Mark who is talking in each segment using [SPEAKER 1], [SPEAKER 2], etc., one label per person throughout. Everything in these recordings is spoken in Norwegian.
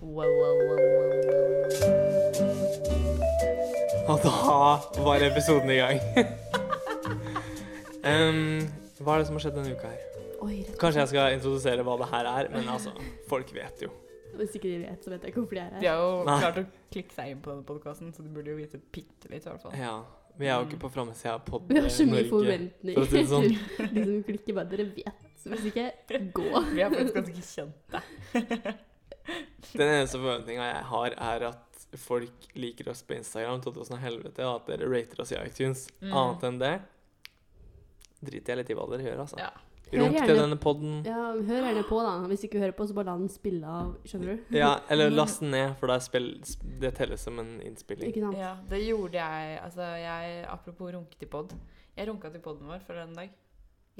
[SPEAKER 1] Wow, wow, wow, wow, wow.
[SPEAKER 2] Og da var episoden i gang. Em, hva er det som har skjedd denne uka her?
[SPEAKER 1] Oi, rett.
[SPEAKER 2] Kanskje jeg skal introdusere hva det her er, men altså, folk vet jo.
[SPEAKER 1] Hvis ikke de vet, så vet jeg ikke hvorfor de er her.
[SPEAKER 3] De har jo
[SPEAKER 2] Nei.
[SPEAKER 3] klart å klikke seg inn på denne podkasten, så de burde jo vite bitte litt, i hvert fall.
[SPEAKER 2] Ja, Vi er jo ikke på framsida av Pod
[SPEAKER 1] Vi har så mye
[SPEAKER 2] Norge. for å
[SPEAKER 1] forventninger
[SPEAKER 2] si det
[SPEAKER 1] til
[SPEAKER 2] sånn.
[SPEAKER 1] de som klikker bare dere vet. Så hvis ikke, gå.
[SPEAKER 3] Vi er faktisk ganske kjent
[SPEAKER 2] Den eneste forventninga jeg har, er at folk liker oss på Instagram, til tusen helvete, og at dere rater oss i iTunes.
[SPEAKER 3] Mm.
[SPEAKER 2] Annet enn det driter jeg litt i hva dere gjør, altså.
[SPEAKER 3] Ja.
[SPEAKER 1] Hør
[SPEAKER 2] Runk til
[SPEAKER 1] gjerne-
[SPEAKER 2] denne podden.
[SPEAKER 1] Ja, hør gjerne på, da. Hvis ikke du hører på, så bare la den spille av. Skjønner du?
[SPEAKER 2] Ja, eller last den ned, for da er spill, det telles som en innspilling.
[SPEAKER 1] Ikke sant?
[SPEAKER 3] Ja, det gjorde jeg. Altså, jeg Apropos runke til pod. Jeg runka til poden vår for en dag.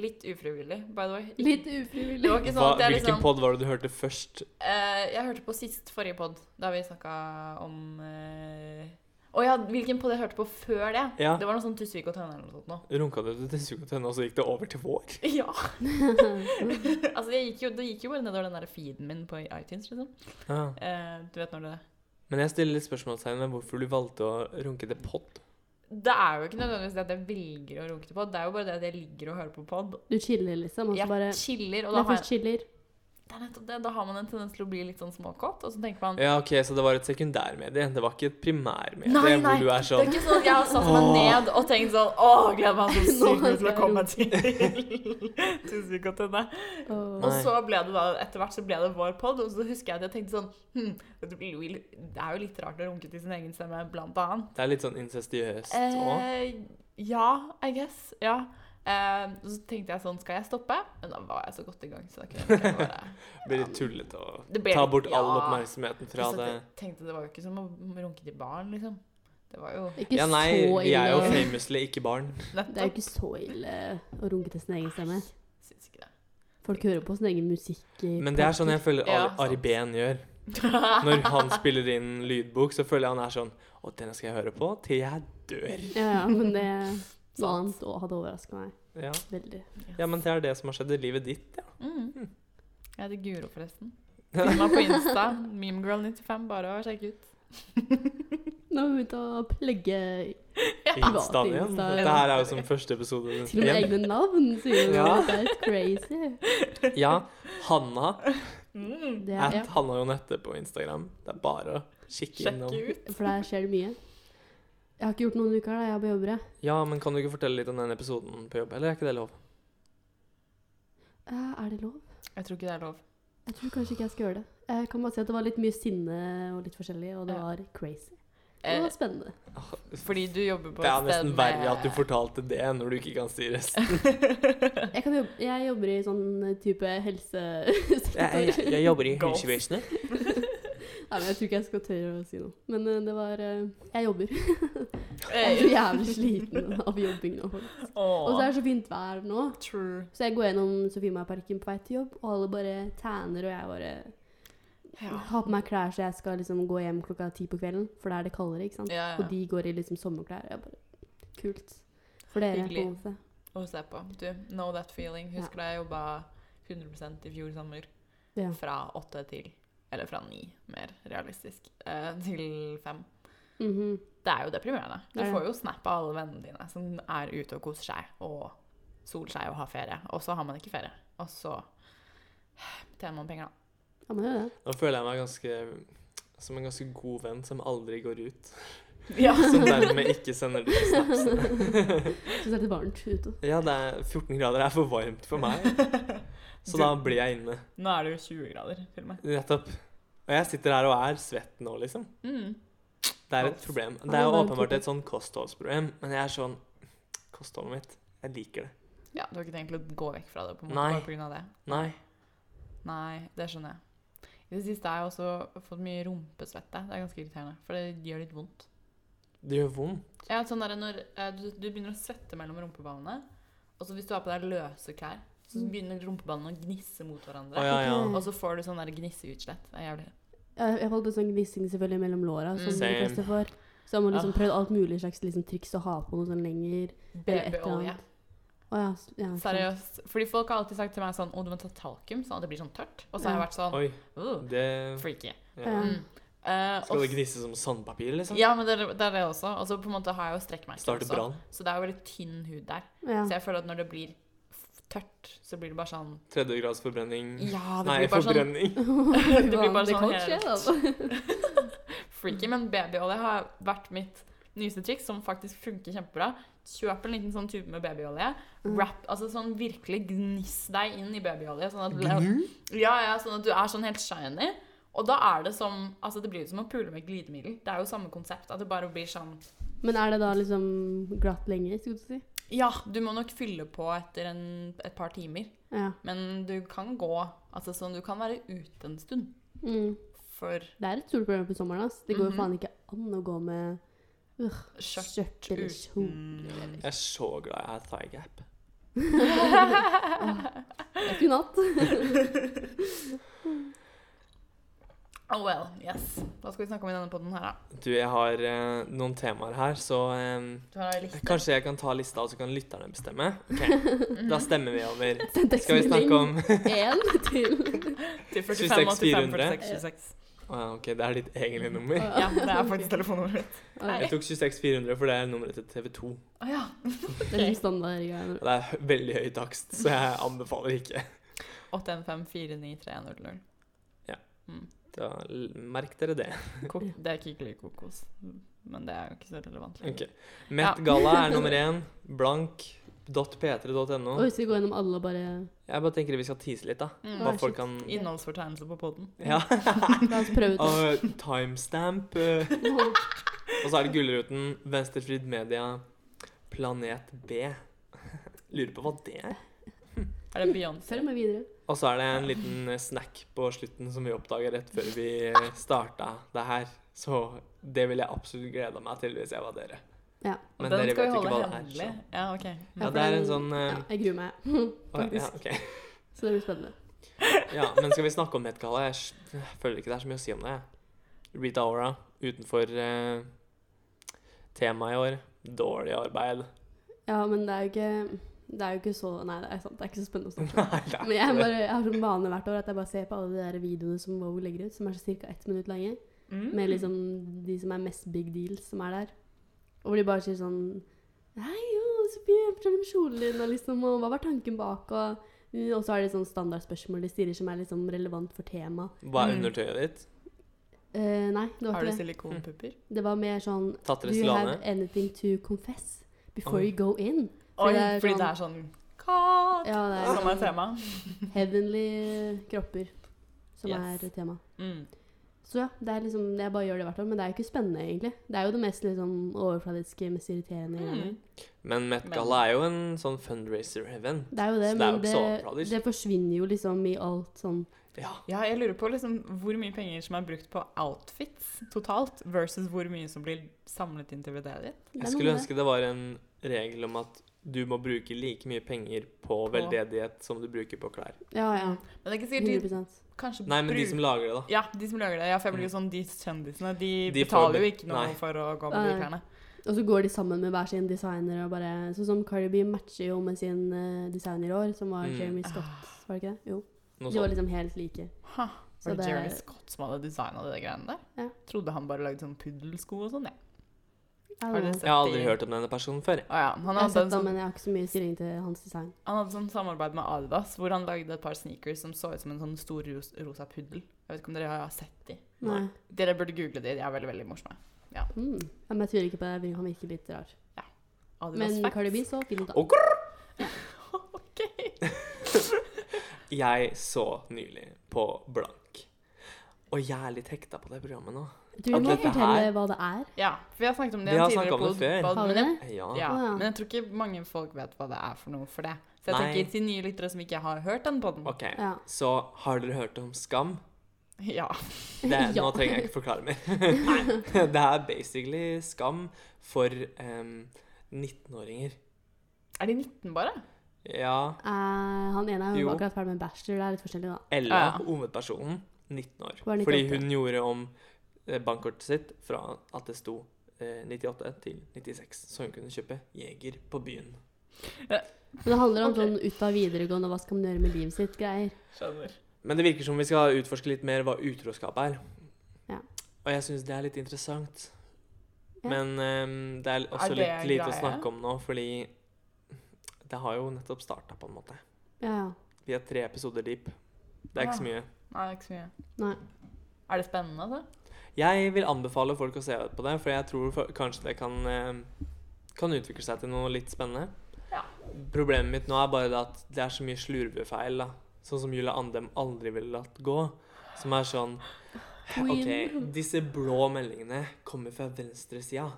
[SPEAKER 3] Litt ufrivillig, by the way. Ikke-
[SPEAKER 1] Litt
[SPEAKER 3] Det
[SPEAKER 1] ufrivillig.
[SPEAKER 3] var ikke sånn at
[SPEAKER 2] Hva,
[SPEAKER 3] jeg
[SPEAKER 2] hvilken
[SPEAKER 3] liksom
[SPEAKER 2] pod var det du hørte først?
[SPEAKER 3] eh, Jeg hørte på sist forrige pod, da vi snakka om eh, Å ja, hvilken pod jeg hørte på før det?
[SPEAKER 2] Ja.
[SPEAKER 3] Det var noe sånn Tusvik og Tønne eller noe sånt nå.
[SPEAKER 2] Runka du til sugekotønne, og så gikk det over til vår?
[SPEAKER 3] Ja. altså, jeg gikk jo, det gikk jo bare nedover den der feeden min på iTunes, liksom.
[SPEAKER 2] Ja.
[SPEAKER 3] Eh, du vet når det
[SPEAKER 2] Men jeg stiller litt spørsmålstegn ved hvorfor du valgte å runke til pod.
[SPEAKER 3] Det er jo ikke nødvendigvis det at jeg velger å runke til pod, det er jo bare det at jeg ligger og hører på pod.
[SPEAKER 1] Du chiller, liksom. Og så
[SPEAKER 3] Jeg
[SPEAKER 1] bare
[SPEAKER 3] chiller, og da
[SPEAKER 1] Når jeg
[SPEAKER 3] har,
[SPEAKER 1] først chiller
[SPEAKER 3] jeg, det er nettopp det, da har man en tendens til å bli litt sånn småkåt, og så tenker man
[SPEAKER 2] Ja, ok, Så det var et sekundærmedie, det var ikke et primærmedie?
[SPEAKER 3] Nei, nei,
[SPEAKER 2] Hvor du er
[SPEAKER 3] Det er
[SPEAKER 2] sånn
[SPEAKER 3] ikke sånn at jeg har satt meg
[SPEAKER 2] Åh.
[SPEAKER 3] ned og tenkt sånn Å, gleder meg så
[SPEAKER 1] Nå
[SPEAKER 3] sykt mye til å
[SPEAKER 1] skal jeg
[SPEAKER 3] komme meg til Tusenvikotene.
[SPEAKER 1] og
[SPEAKER 3] Og
[SPEAKER 2] Nei.
[SPEAKER 3] så ble det da, etter hvert så ble det vår pod, og så husker jeg at jeg tenkte sånn hm, Det blir jo litt- det er jo litt rart å runke til sin egen stemme, blant annet.
[SPEAKER 2] Det er litt sånn incestiøst òg.
[SPEAKER 3] Eh, ja, I guess. Ja. Eh, så tenkte jeg sånn, skal jeg stoppe? Men da var jeg så godt i gang, så da kunne jeg ikke bare
[SPEAKER 2] Blir litt tullete å
[SPEAKER 3] Det ble
[SPEAKER 2] ta
[SPEAKER 3] litt-
[SPEAKER 2] bort all
[SPEAKER 3] ja.
[SPEAKER 2] oppmerksomheten fra
[SPEAKER 3] Pluss at
[SPEAKER 2] det.
[SPEAKER 3] Jeg tenkte det var jo ikke som å runke til barn, liksom. Det var jo
[SPEAKER 1] Ikke
[SPEAKER 2] Ja, nei,
[SPEAKER 1] så
[SPEAKER 2] vi er jo
[SPEAKER 1] ille.
[SPEAKER 2] famously ikke barn.
[SPEAKER 3] nettopp.
[SPEAKER 1] Det er jo ikke så ille å runke til sin egen stemme.
[SPEAKER 3] Syns ikke det.
[SPEAKER 1] Folk hører på sin egen musikk. i
[SPEAKER 2] Men det er sånn jeg føler
[SPEAKER 3] Ja,
[SPEAKER 2] Ari- Ari
[SPEAKER 3] sant.
[SPEAKER 2] Behn gjør. Når han spiller inn lydbok, så føler jeg han er sånn Å, denne skal jeg høre på til jeg dør.
[SPEAKER 1] Ja, ja, men det
[SPEAKER 3] Sant.
[SPEAKER 1] noe annet også hadde overraska meg
[SPEAKER 2] Ja.
[SPEAKER 1] veldig.
[SPEAKER 2] ja, men det er det som har skjedd i livet ditt, ja.
[SPEAKER 3] Mm. Jeg heter Guro, forresten. Følg meg på Insta. Memegirl95, bare å sjekke ut.
[SPEAKER 1] Nå har vi begynt å plugge
[SPEAKER 2] Instaen igjen.
[SPEAKER 1] Insta.
[SPEAKER 2] Dette her er jo som første episode.
[SPEAKER 1] til og med
[SPEAKER 2] igjen.
[SPEAKER 1] egne navn, sier du.
[SPEAKER 2] Ja.
[SPEAKER 1] Det er helt crazy.
[SPEAKER 2] Ja, Hanna.
[SPEAKER 3] Mm.
[SPEAKER 1] Det er,
[SPEAKER 2] At Hanna Jonette på Instagram. Det er bare å kikke
[SPEAKER 3] Sjekk
[SPEAKER 2] innom.
[SPEAKER 3] ut.
[SPEAKER 1] For der skjer det mye. Jeg har ikke gjort noen uker, da. Jeg har på jobber, jeg.
[SPEAKER 2] Ja, men kan du ikke fortelle litt om den episoden på jobb? Eller er ikke det lov?
[SPEAKER 1] Eh, Er det lov?
[SPEAKER 3] Jeg tror ikke det er lov.
[SPEAKER 1] Jeg tror kanskje ikke jeg skal gjøre det. Jeg kan bare si at det var litt mye sinne og litt forskjellig, og det
[SPEAKER 3] Ja.
[SPEAKER 1] var crazy. Det
[SPEAKER 3] Eh,
[SPEAKER 1] var spennende.
[SPEAKER 3] fordi du jobber på
[SPEAKER 2] Ah, Det er nesten verre at du
[SPEAKER 3] med-
[SPEAKER 2] fortalte det når du ikke kan si resten.
[SPEAKER 1] Jeg, kan jobbe, jeg jobber i sånn type helsesektor.
[SPEAKER 2] jobber i
[SPEAKER 3] Golf.
[SPEAKER 2] helsevesenet.
[SPEAKER 1] Nei, men jeg tror ikke jeg skal tørre å si noe. Men eh, det var eh, Jeg jobber. Jeg er så
[SPEAKER 3] Eh,
[SPEAKER 1] jævlig sliten av jobbing nå. Og så er
[SPEAKER 3] Åh,
[SPEAKER 1] det så fint vær nå.
[SPEAKER 3] true.
[SPEAKER 1] Så jeg går gjennom Sofiemarparken på vei til jobb, og alle bare tanner, og jeg bare
[SPEAKER 3] Ja.
[SPEAKER 1] har på meg klær så jeg skal liksom gå hjem klokka ti på kvelden, for da er det kaldere, ikke sant.
[SPEAKER 3] Ja,
[SPEAKER 1] Og de går i liksom sommerklær. Jeg bare Kult. For dere, på
[SPEAKER 3] Hyggelig.
[SPEAKER 1] en måte.
[SPEAKER 3] å se på. Du, know that feeling. Husker da jeg jobba 100 i fjor sommer?
[SPEAKER 1] Ja.
[SPEAKER 3] Fra åtte til Eller fra ni, mer realistisk. eh, til fem.
[SPEAKER 1] Mhm.
[SPEAKER 3] Det er jo deprimerende. Du
[SPEAKER 1] Det er det.
[SPEAKER 3] får jo snap av alle vennene dine som er ute og koser seg og soler seg og har ferie, og så har man ikke ferie. Og så tjener man penger, da.
[SPEAKER 1] Ja, men det er jo det.
[SPEAKER 2] Nå føler jeg meg ganske som en ganske god venn som aldri går ut.
[SPEAKER 3] Ja.
[SPEAKER 2] Som dermed ikke sender de snapsene.
[SPEAKER 1] Syns det er litt varmt ute.
[SPEAKER 2] Ja, det er 14 grader er for varmt for meg, så da blir jeg inne.
[SPEAKER 3] Nå er det jo 20 grader, til og med.
[SPEAKER 2] Nettopp. Og jeg sitter her og er svett nå, liksom.
[SPEAKER 3] Mm.
[SPEAKER 2] Det er et
[SPEAKER 3] Alt.
[SPEAKER 2] problem.
[SPEAKER 1] Ja,
[SPEAKER 2] Det er
[SPEAKER 1] det
[SPEAKER 2] jo
[SPEAKER 1] er et
[SPEAKER 2] åpenbart
[SPEAKER 1] problem.
[SPEAKER 2] et sånn kostholdsproblem, men jeg er sånn Kostholdet mitt, jeg liker det.
[SPEAKER 3] Ja, du har ikke tenkt å gå vekk fra det på en måte,
[SPEAKER 2] Nei.
[SPEAKER 3] bare på grunn av det?
[SPEAKER 2] Nei.
[SPEAKER 3] Nei, det skjønner jeg. I det siste har jeg også fått mye rumpesvette. Det er ganske irriterende, for det gjør litt vondt.
[SPEAKER 2] Det gjør vondt.
[SPEAKER 3] Jeg har hatt sånn der når eh, du, du begynner å svette mellom rumpeballene, og så hvis du har på deg løse klær, så
[SPEAKER 1] Mm.
[SPEAKER 3] begynner rumpeballene å gnisse mot hverandre.
[SPEAKER 2] Å ja, ja.
[SPEAKER 3] Og så får du sånn der gnisseutslett. Det er jævlig.
[SPEAKER 1] Jeg jeg holdt en sånn gnissing selvfølgelig mellom låra, som
[SPEAKER 3] Mm.
[SPEAKER 1] de
[SPEAKER 2] Same.
[SPEAKER 1] fleste får. Så har man liksom
[SPEAKER 3] Ah.
[SPEAKER 1] prøvd alt mulig slags liksom, triks å ha på noe sånn lenger. Eller et eller
[SPEAKER 3] BB-olje.
[SPEAKER 1] annet. Å ja, s- ja. sant.
[SPEAKER 3] Seriøst. Fordi folk har alltid sagt til meg sånn Å, du må ta talkum, sånn at det blir sånn tørt. Og så har jeg vært sånn
[SPEAKER 2] Oi,
[SPEAKER 3] «Åh,
[SPEAKER 2] det
[SPEAKER 3] Freaky.
[SPEAKER 2] ja.
[SPEAKER 1] Ja.
[SPEAKER 3] Mm. Eh,
[SPEAKER 2] Skal det
[SPEAKER 3] og-
[SPEAKER 2] gnisse som sandpapir, liksom?
[SPEAKER 3] Ja, men det, er- det er det også. Og så på en måte har jeg jo strekkmerker
[SPEAKER 2] Starte
[SPEAKER 3] også.
[SPEAKER 2] brann?
[SPEAKER 3] Så det er jo veldig tynn hud der.
[SPEAKER 1] Ja.
[SPEAKER 3] Så jeg føler at når det blir f- tørt, så blir det bare sånn
[SPEAKER 2] Tredjegrads forbrenning?
[SPEAKER 3] Ja, det
[SPEAKER 2] Mm. Nei,
[SPEAKER 3] blir bare sånn
[SPEAKER 2] forbrenning.
[SPEAKER 3] det blir bare
[SPEAKER 1] Det
[SPEAKER 3] sånn
[SPEAKER 1] kan
[SPEAKER 3] helt-
[SPEAKER 1] skje, altså.
[SPEAKER 3] freaky. Men babyolje har vært mitt nyeste triks, som faktisk funker kjempebra. Kjøp en liten sånn tube med babyolje.
[SPEAKER 1] Mm.
[SPEAKER 3] Wrap, altså sånn virkelig gniss deg inn i babyolje. Sånn at,
[SPEAKER 2] Gnu?
[SPEAKER 3] ja, ja, sånn at du er sånn helt shiny. Og da er det som Altså, det blir jo som å pule med glidemiddel. Det er jo samme konsept. At det bare blir sånn
[SPEAKER 1] Men er det da liksom glatt lenge, skulle du si?
[SPEAKER 3] Ja, du må nok fylle på etter en, et par timer.
[SPEAKER 1] Ja.
[SPEAKER 3] Men du kan gå Altså sånn, du kan være ute en stund.
[SPEAKER 1] Mm.
[SPEAKER 3] For
[SPEAKER 1] Det er et stort problem på sommeren. ass. Det går jo
[SPEAKER 3] Mhm.
[SPEAKER 1] faen ikke an å gå med
[SPEAKER 3] skjørt
[SPEAKER 1] skjørt eller kjole.
[SPEAKER 3] uten
[SPEAKER 2] Jeg er så glad jeg har thigh gap.
[SPEAKER 1] God natt.
[SPEAKER 3] Oh well, yes. Hva skal vi snakke om i denne podden her, da?
[SPEAKER 2] Du, jeg har eh, noen temaer her, så eh,
[SPEAKER 3] Du har ei liste.
[SPEAKER 2] Kanskje jeg kan ta lista, og så kan lytterne bestemme? Ok, Da stemmer vi over.
[SPEAKER 1] Send
[SPEAKER 2] Skal vi snakke
[SPEAKER 1] tekstmelding
[SPEAKER 2] om
[SPEAKER 1] én til
[SPEAKER 3] Til
[SPEAKER 2] 46, 400.
[SPEAKER 3] 46.
[SPEAKER 2] Å ja, Ah, OK, det er ditt egentlige nummer.
[SPEAKER 3] Ja, det er faktisk telefonnummeret mitt.
[SPEAKER 1] Nei,
[SPEAKER 2] Jeg tok 26400, for det er nummeret til TV2.
[SPEAKER 3] Å ja.
[SPEAKER 1] Det er sånn litt standardgreier.
[SPEAKER 2] Og det er hø- veldig høy takst, så jeg anbefaler ikke.
[SPEAKER 3] 815493000.
[SPEAKER 2] Da l- merk dere det.
[SPEAKER 3] Kok det er Kikli kokos, men det er jo ikke så relevant. lenger.
[SPEAKER 2] Ok. Met Gala er nummer én. Blank.p3.no.
[SPEAKER 1] Oi, skal vi gå gjennom alle og bare
[SPEAKER 2] Jeg bare tenker vi skal tease litt, da.
[SPEAKER 3] Mm.
[SPEAKER 2] Hva
[SPEAKER 1] Nei,
[SPEAKER 2] folk
[SPEAKER 1] shit.
[SPEAKER 2] kan
[SPEAKER 3] Innholdsfortegnelse på podden.
[SPEAKER 2] Ja.
[SPEAKER 1] La oss prøve ut det.
[SPEAKER 2] Og timestamp. eh, Og så er det Gullruten, Venstrefrid Media, Planet B. Lurer på hva det er.
[SPEAKER 3] Er det Beyoncé?
[SPEAKER 1] Følg med videre.
[SPEAKER 2] Og så er det en liten eh, snack på slutten som vi oppdaga rett før vi starta det her. Så det ville jeg absolutt gleda meg til hvis jeg var dere.
[SPEAKER 1] Ja.
[SPEAKER 3] Og
[SPEAKER 2] Men
[SPEAKER 3] den
[SPEAKER 2] dere
[SPEAKER 3] skal
[SPEAKER 2] vet
[SPEAKER 3] vi holde
[SPEAKER 2] ikke hva det er.
[SPEAKER 3] hemmelig.
[SPEAKER 2] Så.
[SPEAKER 3] Ja, ok. Mm.
[SPEAKER 2] Ja,
[SPEAKER 1] for
[SPEAKER 2] det er en
[SPEAKER 1] den-
[SPEAKER 2] sånn, eh,
[SPEAKER 1] Ja, jeg gruer meg.
[SPEAKER 2] Å, Ja,
[SPEAKER 1] Faktisk.
[SPEAKER 2] ok.
[SPEAKER 1] Så det blir spennende.
[SPEAKER 2] ja, men skal vi snakke om Metgalla? Jeg s- føler ikke det er så mye å si om det. jeg. Rita Ora utenfor eh, temaet i år. Dårlig arbeid.
[SPEAKER 1] Ja, men det er jo ikke Det er jo ikke så Nei, det er sant. Det er ikke så spennende å snakke om.
[SPEAKER 2] Nei, det er
[SPEAKER 1] Men jeg,
[SPEAKER 2] ikke det.
[SPEAKER 1] bare, jeg har som vane hvert år at jeg bare ser på alle de der videoene som Wow legger ut, som er ca. ett minutt lange.
[SPEAKER 3] Mm.
[SPEAKER 1] Med liksom de som er mest big deals som er der. Og hvor de bare sier sånn Hei, jo, Sofie, fortell om kjolen din, og liksom, og hva var tanken bak, og og så er det sånn standardspørsmål de stiller som er liksom relevant for temaet.
[SPEAKER 2] Hva er
[SPEAKER 3] Mm.
[SPEAKER 2] undertøyet ditt?
[SPEAKER 1] Eh, nei, det var
[SPEAKER 3] Har du
[SPEAKER 1] ikke det.
[SPEAKER 3] silikonpupper?
[SPEAKER 1] Det var mer sånn
[SPEAKER 2] Tatt
[SPEAKER 1] Do
[SPEAKER 2] dere
[SPEAKER 1] you have
[SPEAKER 2] silane?
[SPEAKER 1] anything to confess before
[SPEAKER 2] Oi.
[SPEAKER 1] you go in?
[SPEAKER 3] Oi,
[SPEAKER 1] Fordi det er
[SPEAKER 3] fordi det
[SPEAKER 1] sånn-
[SPEAKER 3] er sånn Katt!
[SPEAKER 1] Ja, det er
[SPEAKER 3] Som er
[SPEAKER 1] sånn-
[SPEAKER 3] tema.
[SPEAKER 1] Heavenly kropper, som
[SPEAKER 3] Yes.
[SPEAKER 1] er tema.
[SPEAKER 3] Mm.
[SPEAKER 1] Så ja, det er liksom, jeg bare gjør det hvert år, men det er jo ikke spennende, egentlig. Det er jo det mest liksom, overfladiske, mest irriterende. greiene.
[SPEAKER 3] Mm.
[SPEAKER 2] Men Met
[SPEAKER 3] Men-
[SPEAKER 2] Gala er jo en sånn fundraiser-event.
[SPEAKER 1] Det er jo det,
[SPEAKER 2] Så det er jo
[SPEAKER 1] men
[SPEAKER 2] ikke
[SPEAKER 1] det,
[SPEAKER 2] så overfladisk.
[SPEAKER 1] det forsvinner jo liksom i alt sånn
[SPEAKER 2] Ja.
[SPEAKER 3] Ja, jeg lurer på liksom hvor mye penger som er brukt på outfits totalt, versus hvor mye som blir samlet inn til VD-et ditt.
[SPEAKER 2] Jeg
[SPEAKER 1] Det er noe
[SPEAKER 2] skulle
[SPEAKER 1] med
[SPEAKER 2] ønske det var en regel om at du må bruke like mye penger på veldedighet som du bruker på klær.
[SPEAKER 1] det. Ja, Ah, ja.
[SPEAKER 2] Mm.
[SPEAKER 3] Men det er ikke sikkert
[SPEAKER 1] 100
[SPEAKER 3] de kanskje
[SPEAKER 2] Nei, men de
[SPEAKER 3] bruk-
[SPEAKER 2] som lager det, da.
[SPEAKER 3] Ja, de som lager det. Ja, for jeg blir jo sånn, de kjendisene, de,
[SPEAKER 2] De får-
[SPEAKER 3] betaler jo ikke noe
[SPEAKER 2] nei.
[SPEAKER 3] for å gå med de
[SPEAKER 1] Nei.
[SPEAKER 3] klærne.
[SPEAKER 1] Og så går de sammen med hver sin designer og bare Sånn som Cardi B matcher jo med sin eh, designer i år, som var
[SPEAKER 2] Mm.
[SPEAKER 1] Jeremy Scott, var det ikke det? Jo.
[SPEAKER 2] Noe
[SPEAKER 1] De var
[SPEAKER 2] sånt.
[SPEAKER 1] liksom helt like.
[SPEAKER 3] Ha,
[SPEAKER 1] Så
[SPEAKER 3] Ah. var det
[SPEAKER 1] det-
[SPEAKER 3] Jeremy Scott som hadde designa de greiene der?
[SPEAKER 1] Ja.
[SPEAKER 3] Trodde han bare lagde sånn puddelsko og sånn, jeg.
[SPEAKER 1] Jeg
[SPEAKER 3] Har
[SPEAKER 1] vet
[SPEAKER 3] du
[SPEAKER 1] ikke.
[SPEAKER 3] sett
[SPEAKER 2] Jeg har aldri
[SPEAKER 3] de-
[SPEAKER 2] hørt om denne personen før.
[SPEAKER 3] Å ja. Han
[SPEAKER 1] Jeg har
[SPEAKER 3] hadde, en
[SPEAKER 1] sett ham,
[SPEAKER 3] sånn,
[SPEAKER 1] men jeg har ikke så mye stilling til hans design.
[SPEAKER 3] han hadde sånn samarbeid med Adidas, hvor han lagde et par sneakers som så ut som en sånn stor ros rosa puddel. Jeg vet ikke om dere har sett de.
[SPEAKER 1] Nei.
[SPEAKER 3] Dere burde google de, de er veldig, veldig morsomme.
[SPEAKER 1] Mm. Ja, Men jeg tviler ikke på det. Han virker litt rar.
[SPEAKER 3] Adidas
[SPEAKER 1] Men
[SPEAKER 3] facts.
[SPEAKER 1] Cardi B så fin ut, da.
[SPEAKER 2] Og
[SPEAKER 3] Ok.
[SPEAKER 2] Jeg så nylig på Blank. Og jeg er litt hekta på det programmet nå.
[SPEAKER 1] Du må
[SPEAKER 2] Dette her-
[SPEAKER 1] fortelle hva det er.
[SPEAKER 3] Ja, for vi har snakket om det
[SPEAKER 2] Vi
[SPEAKER 3] i en
[SPEAKER 2] har
[SPEAKER 3] tidligere
[SPEAKER 2] snakket om det
[SPEAKER 3] pod-
[SPEAKER 2] før.
[SPEAKER 3] pod-
[SPEAKER 1] Har vi
[SPEAKER 3] men jeg-
[SPEAKER 1] det?
[SPEAKER 2] Eh, Ja.
[SPEAKER 3] Ja,
[SPEAKER 1] Ah, ja.
[SPEAKER 3] men jeg tror ikke mange folk vet hva det er for noe for det. Så jeg
[SPEAKER 2] Nei.
[SPEAKER 3] tenker til nye lyttere som ikke har hørt den podden.
[SPEAKER 2] OK.
[SPEAKER 1] Ja.
[SPEAKER 2] Så har dere hørt om Skam?
[SPEAKER 3] Ja.
[SPEAKER 2] Det, Nå
[SPEAKER 1] Ja.
[SPEAKER 2] trenger jeg ikke forklare mer. det er basically Skam for ehm, em, 19-åringer.
[SPEAKER 3] Er de 19 bare?
[SPEAKER 2] Ja.
[SPEAKER 1] Eh, han ene er jo
[SPEAKER 2] Jo.
[SPEAKER 1] akkurat ferdig med en bachelor. Det er litt forskjellig, da.
[SPEAKER 2] Ella,
[SPEAKER 3] Ja.
[SPEAKER 2] hovedpersonen, 19 år.
[SPEAKER 1] Var 98.
[SPEAKER 2] Fordi hun gjorde om eh, bankkortet sitt fra at det sto eh, 98 til 96, så hun kunne kjøpe Jeger på byen.
[SPEAKER 1] Men det handler om
[SPEAKER 3] Ok.
[SPEAKER 1] sånn ut av videregående og hva skal man gjøre med livet sitt, greier.
[SPEAKER 3] Skjønner.
[SPEAKER 2] Men det virker som vi skal utforske litt mer hva utroskap er.
[SPEAKER 1] Ja.
[SPEAKER 2] Og jeg syns det er litt interessant.
[SPEAKER 1] Ja.
[SPEAKER 2] Men ehm, det er også
[SPEAKER 3] Er det
[SPEAKER 2] litt lite å
[SPEAKER 3] greie?
[SPEAKER 2] snakke om nå, fordi det har jo nettopp starta, på en måte.
[SPEAKER 1] Ja, ja.
[SPEAKER 2] Vi er tre episoder deep. Det er ikke så mye.
[SPEAKER 3] Nei, det er ikke så mye.
[SPEAKER 1] Nei.
[SPEAKER 3] Er det spennende, altså?
[SPEAKER 2] Jeg vil anbefale folk å se på det, for jeg tror for, kanskje det kan, ehm, kan utvikle seg til noe litt spennende.
[SPEAKER 3] Ja.
[SPEAKER 2] Problemet mitt nå er bare det at det er så mye slurvefeil, da. Sånn som Julia Andem aldri ville latt gå. Som er sånn Ok,
[SPEAKER 1] Queen.
[SPEAKER 2] disse blå meldingene kommer fra venstresida.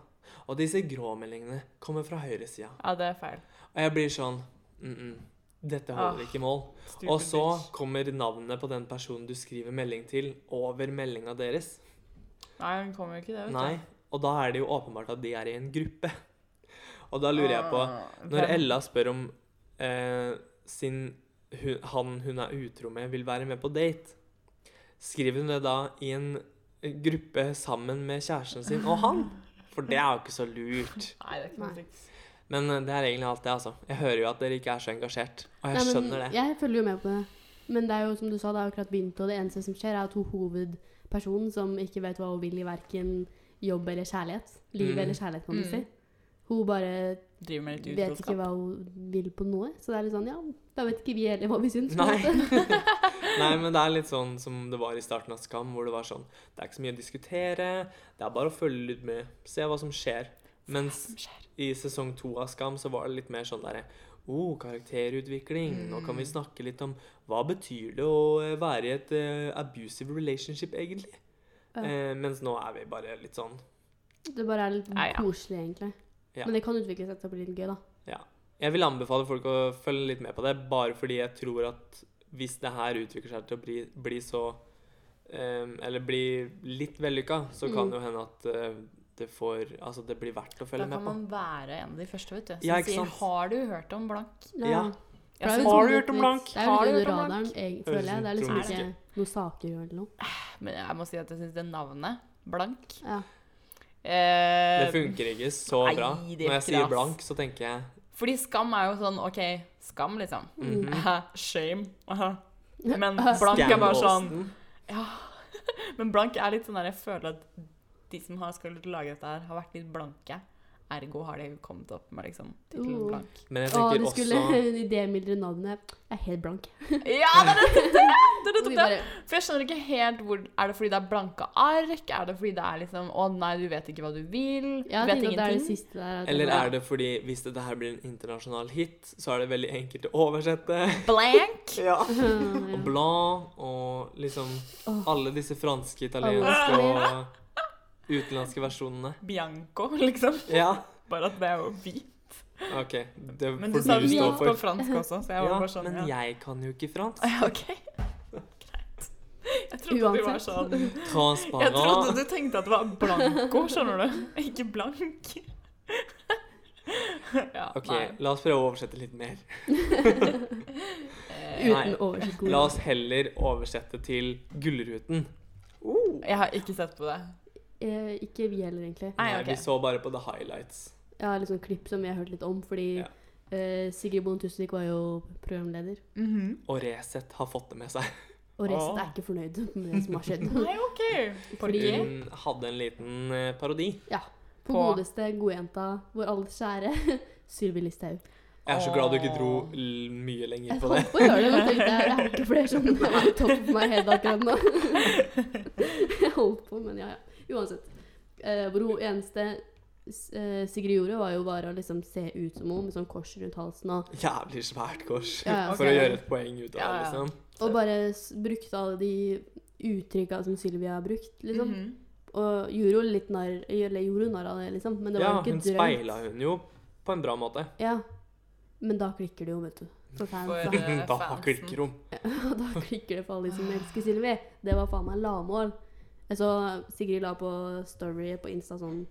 [SPEAKER 2] Og disse grå meldingene kommer fra høyresida.
[SPEAKER 3] Ja, det er feil.
[SPEAKER 2] Og jeg blir sånn mm -mm, Dette holder
[SPEAKER 3] Ah,
[SPEAKER 2] ikke mål.
[SPEAKER 3] Stupid
[SPEAKER 2] Og så
[SPEAKER 3] bitch.
[SPEAKER 2] kommer navnet på den personen du skriver melding til, over meldinga deres.
[SPEAKER 3] Nei, hun kommer jo ikke det, vet
[SPEAKER 2] Nei. Og da er det jo åpenbart at de er i en gruppe. Og da lurer jeg
[SPEAKER 3] Ah,
[SPEAKER 2] på Når Ella spør om eh, sin, hun, han hun er utro med, vil være med på date, skriver hun det da i en eh, gruppe sammen med kjæresten sin og han? For det er jo ikke så lurt.
[SPEAKER 3] Nei, det er ikke noe
[SPEAKER 1] Nei.
[SPEAKER 3] triks.
[SPEAKER 2] Men eh, det er egentlig alt det, altså. Jeg hører jo at dere ikke er så engasjert, og jeg
[SPEAKER 1] Nei, men
[SPEAKER 2] skjønner det.
[SPEAKER 1] Jeg følger jo med på det. Men det er jo som du sa, det er jo akkurat begynt, og det eneste som skjer, er at hun hovedpersonen som ikke vet hva hun vil i verken jobb eller kjærlighet, liv
[SPEAKER 2] Mm.
[SPEAKER 1] eller kjærlighet, kan du
[SPEAKER 3] Mm.
[SPEAKER 1] si, hun bare
[SPEAKER 3] Driver med litt
[SPEAKER 1] vet ikke
[SPEAKER 3] utroskap.
[SPEAKER 1] hva hun vil på noe. Så det er litt sånn, ja, da vet ikke vi heller hva vi syns. på en
[SPEAKER 2] Nei.
[SPEAKER 1] måte.
[SPEAKER 2] Nei, men det er litt sånn som det var i starten av Skam, hvor det var sånn Det er ikke så mye å diskutere, det er bare å følge litt med, se hva som skjer. Mens
[SPEAKER 3] Som skjer.
[SPEAKER 2] i sesong to av Skam så var det litt mer sånn derre Oh, karakterutvikling. Nå kan vi
[SPEAKER 3] Mm.
[SPEAKER 2] snakke litt om hva betyr det å eh, være i et eh, abusive relationship, egentlig?
[SPEAKER 1] Ja.
[SPEAKER 2] Eh, mens nå er vi bare litt sånn
[SPEAKER 1] Det bare er litt
[SPEAKER 3] Ja, ja.
[SPEAKER 1] koselig, egentlig.
[SPEAKER 2] Ja.
[SPEAKER 1] Men det kan utvikle seg til å bli litt gøy, da.
[SPEAKER 2] Jeg vil anbefale folk å følge litt med på det, bare fordi jeg tror at hvis det her utvikler seg til å bli, bli så eh, Eller bli litt vellykka, så kan
[SPEAKER 1] Mm.
[SPEAKER 2] det jo hende at eh, det får Altså, det blir verdt å
[SPEAKER 3] Da kan
[SPEAKER 2] følge med på.
[SPEAKER 3] man være en av de første, vet du. Som
[SPEAKER 2] Ja, ikke
[SPEAKER 3] sier
[SPEAKER 2] sant?
[SPEAKER 3] 'Har du hørt om blank?'
[SPEAKER 1] Ja.
[SPEAKER 2] Ja.
[SPEAKER 1] For det er jo
[SPEAKER 3] Ja,
[SPEAKER 1] litt
[SPEAKER 2] har du
[SPEAKER 1] sånn litt-
[SPEAKER 2] hørt om Blank?
[SPEAKER 1] Det er jo
[SPEAKER 3] Har
[SPEAKER 1] litt
[SPEAKER 3] du hørt
[SPEAKER 1] under
[SPEAKER 3] om Blank?
[SPEAKER 1] radaren, eg- føler jeg. Det er liksom
[SPEAKER 3] Høres ut
[SPEAKER 1] ikke noen saker eller noe.
[SPEAKER 3] Men jeg må si at jeg syns det navnet, blank
[SPEAKER 1] Ja.
[SPEAKER 2] Det
[SPEAKER 3] eh,
[SPEAKER 2] funker ikke så
[SPEAKER 3] Nei,
[SPEAKER 2] bra.
[SPEAKER 3] det er
[SPEAKER 2] Når jeg
[SPEAKER 3] ikke det,
[SPEAKER 2] sier
[SPEAKER 3] ass.
[SPEAKER 2] blank, så tenker jeg
[SPEAKER 3] Fordi skam er jo sånn OK, skam, liksom.
[SPEAKER 2] mhm.
[SPEAKER 1] Mm.
[SPEAKER 3] Shame. Men blank er bare sånn Men blank er litt sånn der jeg føler at de som har skal lage dette her, har vært litt blanke. Ergo har de kommet opp med liksom tittelen
[SPEAKER 1] Oh.
[SPEAKER 3] blank.
[SPEAKER 2] Men jeg
[SPEAKER 1] Å,
[SPEAKER 2] tenker
[SPEAKER 1] du skulle
[SPEAKER 2] også
[SPEAKER 1] idémildre navnet. Jeg er helt blank.
[SPEAKER 3] Ja, det er nettopp det! det, er
[SPEAKER 1] Og
[SPEAKER 3] nettopp
[SPEAKER 1] de
[SPEAKER 3] det.
[SPEAKER 1] bare,
[SPEAKER 3] For jeg skjønner ikke helt hvor Er det fordi det er blanke ark? Er det fordi det er liksom Å nei, du vet ikke hva du vil? Du
[SPEAKER 1] Ja, jeg
[SPEAKER 3] vet
[SPEAKER 1] tenker at det er det
[SPEAKER 3] ingenting?
[SPEAKER 1] siste der. at-
[SPEAKER 2] Eller er det fordi hvis dette her blir en internasjonal hit, så er det veldig enkelt å oversette?
[SPEAKER 3] Blank?
[SPEAKER 2] Ja.
[SPEAKER 1] Ja.
[SPEAKER 2] Og blanc og liksom
[SPEAKER 1] Åh.
[SPEAKER 2] alle disse franske, italienske
[SPEAKER 1] Alle.
[SPEAKER 2] og utenlandske versjonene.
[SPEAKER 3] Bianco, liksom.
[SPEAKER 2] Ja,
[SPEAKER 3] Bare at det er jo hvit.
[SPEAKER 2] OK. Det får
[SPEAKER 3] Men
[SPEAKER 2] du
[SPEAKER 3] du sa
[SPEAKER 2] stå
[SPEAKER 3] hvit på
[SPEAKER 2] for.
[SPEAKER 3] fransk også, så jeg var
[SPEAKER 2] Ja,
[SPEAKER 3] bare sånn
[SPEAKER 2] men
[SPEAKER 3] ja.
[SPEAKER 2] jeg kan jo ikke fransk.
[SPEAKER 3] Ja, OK. Greit. Jeg trodde du var
[SPEAKER 1] Uansett.
[SPEAKER 3] sånn Jeg trodde
[SPEAKER 2] Transparent.
[SPEAKER 3] du tenkte at det var blanco, skjønner du? Ikke blank. ja,
[SPEAKER 2] OK,
[SPEAKER 3] nei.
[SPEAKER 2] la oss prøve å oversette litt mer.
[SPEAKER 3] Eh,
[SPEAKER 1] Uten oversikt.
[SPEAKER 2] La oss heller oversette til Gullruten.
[SPEAKER 3] Jeg har ikke sett på det.
[SPEAKER 1] Eh, ikke vi heller, egentlig.
[SPEAKER 3] Nei,
[SPEAKER 2] Nei,
[SPEAKER 3] ok.
[SPEAKER 2] Eh, vi så bare på the highlights.
[SPEAKER 1] Jeg har litt sånn klipp som vi har hørt litt om, fordi
[SPEAKER 2] Ja.
[SPEAKER 1] eh, Sigrid Bonde Tusvik var jo programleder.
[SPEAKER 3] Mhm.
[SPEAKER 2] Og Resett har fått det med seg.
[SPEAKER 1] Og resten
[SPEAKER 3] Åh.
[SPEAKER 2] Ah.
[SPEAKER 1] er ikke fornøyd med det som har skjedd.
[SPEAKER 3] Nei, OK. Mm-hmm.
[SPEAKER 1] Fordi-
[SPEAKER 3] Fordi
[SPEAKER 2] Hun hadde en liten eh, parodi.
[SPEAKER 1] På
[SPEAKER 3] På-
[SPEAKER 1] godeste godjenta, vår alles kjære Sylvi Listhaug.
[SPEAKER 2] Jeg er så glad du ikke dro
[SPEAKER 3] Åh.
[SPEAKER 2] l mye lenger
[SPEAKER 1] Jeg
[SPEAKER 2] på det.
[SPEAKER 1] holdt på å gjøre det, men tenkte jeg jeg har ikke flere som er topp for meg helt akkurat nå. Jeg holdt på, men ja, ja. Uansett. Eh, hvor hun eneste eh, Sigrid gjorde, var jo bare å liksom se ut som hun med sånn kors rundt halsen og
[SPEAKER 2] Jævlig svært kors.
[SPEAKER 1] Ja, ja.
[SPEAKER 2] For å
[SPEAKER 3] Ok.
[SPEAKER 2] gjøre et poeng ut av det,
[SPEAKER 3] Ja, ja.
[SPEAKER 2] liksom.
[SPEAKER 1] Og bare s- brukte alle de uttrykka som Sylvia har brukt, liksom.
[SPEAKER 3] Mhm.
[SPEAKER 1] Og gjorde jo litt narr Eller gjorde narr av det, liksom. Men det var
[SPEAKER 2] Ja,
[SPEAKER 1] jo ikke
[SPEAKER 2] hun
[SPEAKER 1] drøyt.
[SPEAKER 2] speila hun jo på en bra måte.
[SPEAKER 1] Ja. Men da klikker det jo, vet du. For fans.
[SPEAKER 3] For-
[SPEAKER 1] da.
[SPEAKER 3] Eh,
[SPEAKER 2] Da
[SPEAKER 3] fansen.
[SPEAKER 2] klikker hun.
[SPEAKER 1] Og da klikker det for alle de som elsker Sylvi. Det var faen meg lavmål. Jeg så Sigrid la på story på Insta sånn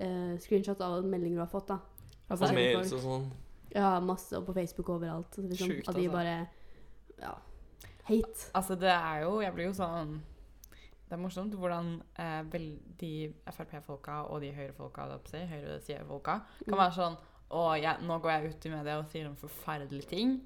[SPEAKER 1] eh, screenshot av meldinger hun har fått, da. Fra
[SPEAKER 2] Og
[SPEAKER 1] forskjellige
[SPEAKER 2] mails
[SPEAKER 1] folk.
[SPEAKER 2] og sånn.
[SPEAKER 1] Ja, masse. Og på Facebook overalt. så Liksom,
[SPEAKER 3] Sjukt,
[SPEAKER 1] at de
[SPEAKER 3] altså.
[SPEAKER 1] bare Ja. Hate.
[SPEAKER 3] Altså, det er jo Jeg blir jo sånn Det er morsomt hvordan eh, vel, de Frp-folka og de Høyre-folka holdt jeg på å si, høyresidene-folka, kan
[SPEAKER 1] Mm.
[SPEAKER 3] være sånn Og jeg, nå går jeg ut i media og sier om forferdelige ting.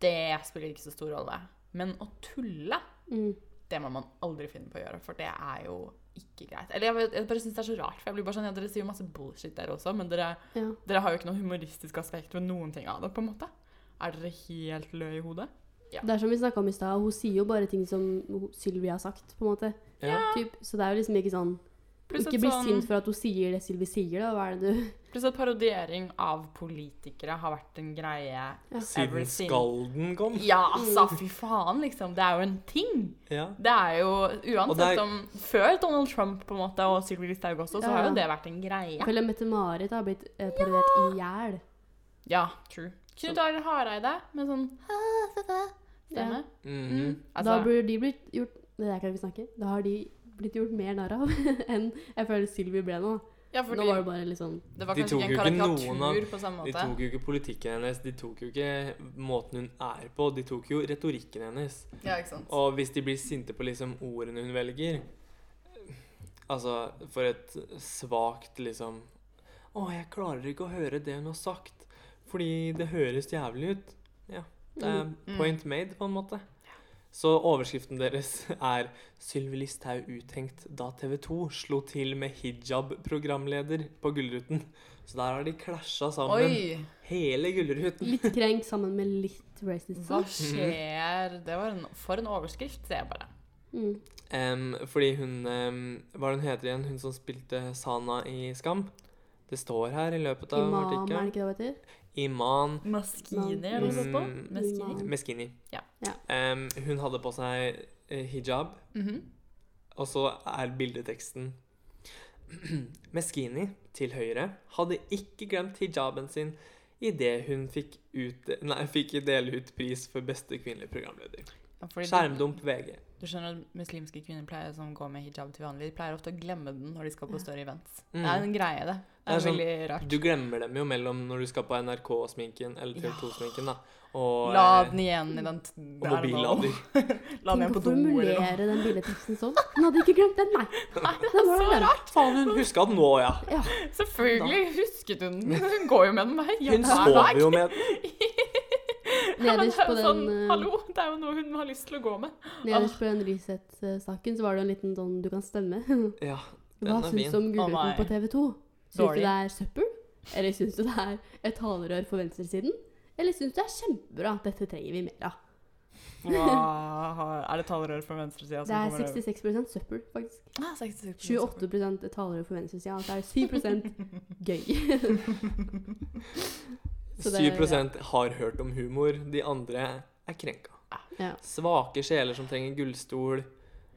[SPEAKER 3] Det spiller ikke så stor rolle. Men å tulle,
[SPEAKER 1] Mm.
[SPEAKER 3] det må man aldri finne på å gjøre. For det er jo ikke greit. Eller jeg, vet- jeg bare syns det er så rart. For jeg blir bare sånn, ja, Dere sier jo masse bullshit der også, men dere,
[SPEAKER 1] Ja.
[SPEAKER 3] dere har jo ikke noe humoristisk aspekt ved noen ting av det. på en måte. Er dere helt lø i hodet?
[SPEAKER 1] Det er som vi snakka om i stad, hun sier jo bare ting som hun- Sylvi har sagt, på en måte.
[SPEAKER 2] Ja.
[SPEAKER 1] Typ. Så det er jo liksom ikke sånn
[SPEAKER 3] Pluss
[SPEAKER 1] Ikke
[SPEAKER 3] at
[SPEAKER 1] bli
[SPEAKER 3] sånn-
[SPEAKER 1] sint for at hun sier det Sylvi sier, da. Hva er det du
[SPEAKER 3] Pluss at parodiering av politikere har vært en greie
[SPEAKER 2] Siden
[SPEAKER 3] ever since.
[SPEAKER 2] Skalden kom.
[SPEAKER 3] Ja, altså, fy faen, liksom. Det er jo en ting.
[SPEAKER 2] Ja.
[SPEAKER 3] Det er jo
[SPEAKER 2] Og det
[SPEAKER 3] Uansett
[SPEAKER 2] er-
[SPEAKER 3] om Før Donald Trump på en måte og Sylvi Listhaug også, så
[SPEAKER 1] Ja,
[SPEAKER 3] har jo
[SPEAKER 1] ja.
[SPEAKER 3] det vært en greie.
[SPEAKER 1] Føler Mette-Marit har blitt eh, parodiert i hjel.
[SPEAKER 3] Ja, true. Knut Arild Hareide med sånn stemme.
[SPEAKER 2] Mhm.
[SPEAKER 3] Mm. Altså,
[SPEAKER 1] da burde de blitt gjort Det der kan vi ikke snakke. Da har de blitt gjort mer narr av enn jeg føler Sylvi ble nå.
[SPEAKER 3] ja, fordi
[SPEAKER 1] Nå var det bare litt sånn
[SPEAKER 3] det var
[SPEAKER 2] De
[SPEAKER 3] kanskje
[SPEAKER 2] tok
[SPEAKER 3] ikke en
[SPEAKER 2] jo ikke
[SPEAKER 3] karikatur
[SPEAKER 2] noen av-
[SPEAKER 3] på samme
[SPEAKER 2] De
[SPEAKER 3] måte.
[SPEAKER 2] tok jo ikke politikken hennes, de tok jo ikke måten hun er på, de tok jo retorikken hennes.
[SPEAKER 3] Ja, ikke sant.
[SPEAKER 2] Og hvis de blir sinte på liksom ordene hun velger Altså, for et svakt liksom Å, jeg klarer ikke å høre det hun har sagt, fordi det høres jævlig ut. Ja. Det er
[SPEAKER 3] Mm.
[SPEAKER 2] point made, på en måte. Så overskriften deres er 'Sylvi Listhaug uthengt da TV 2 slo til med hijab-programleder på Gullruten'. Så der har de klasja sammen.
[SPEAKER 3] Oi,
[SPEAKER 2] Hele Gullruten.
[SPEAKER 1] litt krenk sammen med litt racist.
[SPEAKER 3] hva skjer? Det var en, for en overskrift, ser jeg bare.
[SPEAKER 1] Mm.
[SPEAKER 2] Em, fordi hun em, Hva er det hun heter igjen? Hun som spilte Sana i Skam? Det står her i løpet av
[SPEAKER 1] Imam, er det
[SPEAKER 2] artikkelen.
[SPEAKER 1] ikke det det heter?
[SPEAKER 2] Iman
[SPEAKER 3] Maskini,
[SPEAKER 1] Man-
[SPEAKER 3] er det sånn på?
[SPEAKER 2] Mm.
[SPEAKER 3] Maskini.
[SPEAKER 1] Man-
[SPEAKER 2] Meskini.
[SPEAKER 3] Ja.
[SPEAKER 1] Ja.
[SPEAKER 2] Em, hun hadde på seg eh, hijab,
[SPEAKER 3] Mhm.
[SPEAKER 2] og så er bildeteksten Meskini til høyre hadde ikke glemt hijaben sin idet hun fikk, ut, nei, fikk dele ut pris for beste kvinnelige programleder.
[SPEAKER 3] Ja, fordi du-
[SPEAKER 2] Skjermdump VG.
[SPEAKER 3] Du skjønner at muslimske kvinner pleier, som går med hijab til vanlig, de pleier ofte å glemme den når de skal på større events.
[SPEAKER 2] Mm.
[SPEAKER 3] Det er en greie, det. Det
[SPEAKER 2] Det
[SPEAKER 3] er,
[SPEAKER 2] er sånn-
[SPEAKER 3] veldig rart.
[SPEAKER 2] Du glemmer dem jo mellom når du skal på NRK-sminken eller
[SPEAKER 3] Ja.
[SPEAKER 2] TV2-sminken, da. Og,
[SPEAKER 3] La
[SPEAKER 2] eh,
[SPEAKER 3] den igjen i den t-
[SPEAKER 2] og
[SPEAKER 3] der nå.
[SPEAKER 2] mobillader.
[SPEAKER 3] La den igjen
[SPEAKER 1] Tenk
[SPEAKER 3] på
[SPEAKER 1] å
[SPEAKER 3] do eller noe.
[SPEAKER 1] formulere den bildeteksten sånn. Hun hadde ikke glemt den, nei. Den var
[SPEAKER 3] så
[SPEAKER 1] den.
[SPEAKER 2] Faen, hun huska den nå, ja.
[SPEAKER 3] Selvfølgelig husket hun den. Hun går jo med den hver
[SPEAKER 2] Hun
[SPEAKER 3] jævla
[SPEAKER 2] sover
[SPEAKER 3] dag.
[SPEAKER 2] jo med
[SPEAKER 3] Ja, men det
[SPEAKER 1] Nederst
[SPEAKER 3] er jo
[SPEAKER 1] på den,
[SPEAKER 3] sånn,
[SPEAKER 1] eh,
[SPEAKER 3] Hallo, det er jo noe hun har lyst til å gå med.
[SPEAKER 1] Nederst på den Resett-saken så var det jo en liten sånn du kan stemme.
[SPEAKER 2] Ja, den
[SPEAKER 1] Hva
[SPEAKER 2] er
[SPEAKER 1] syns
[SPEAKER 2] fin.
[SPEAKER 1] du
[SPEAKER 3] Å,
[SPEAKER 1] om
[SPEAKER 3] nei.
[SPEAKER 1] Gullruten på TV 2? Syns du
[SPEAKER 3] Dårlig.
[SPEAKER 1] det er søppel? Eller syns du det er et talerør for venstresiden? Eller syns du det er kjempebra? Dette trenger vi mer av.
[SPEAKER 3] Hva er det talerør fra venstresida
[SPEAKER 1] Det er 66 søppel, faktisk. 28 et talerør for venstresida. Altså er det 7 gøy. Så det-
[SPEAKER 2] 7 har hørt om humor, de andre er krenka.
[SPEAKER 1] Ja.
[SPEAKER 2] Svake sjeler som trenger gullstol,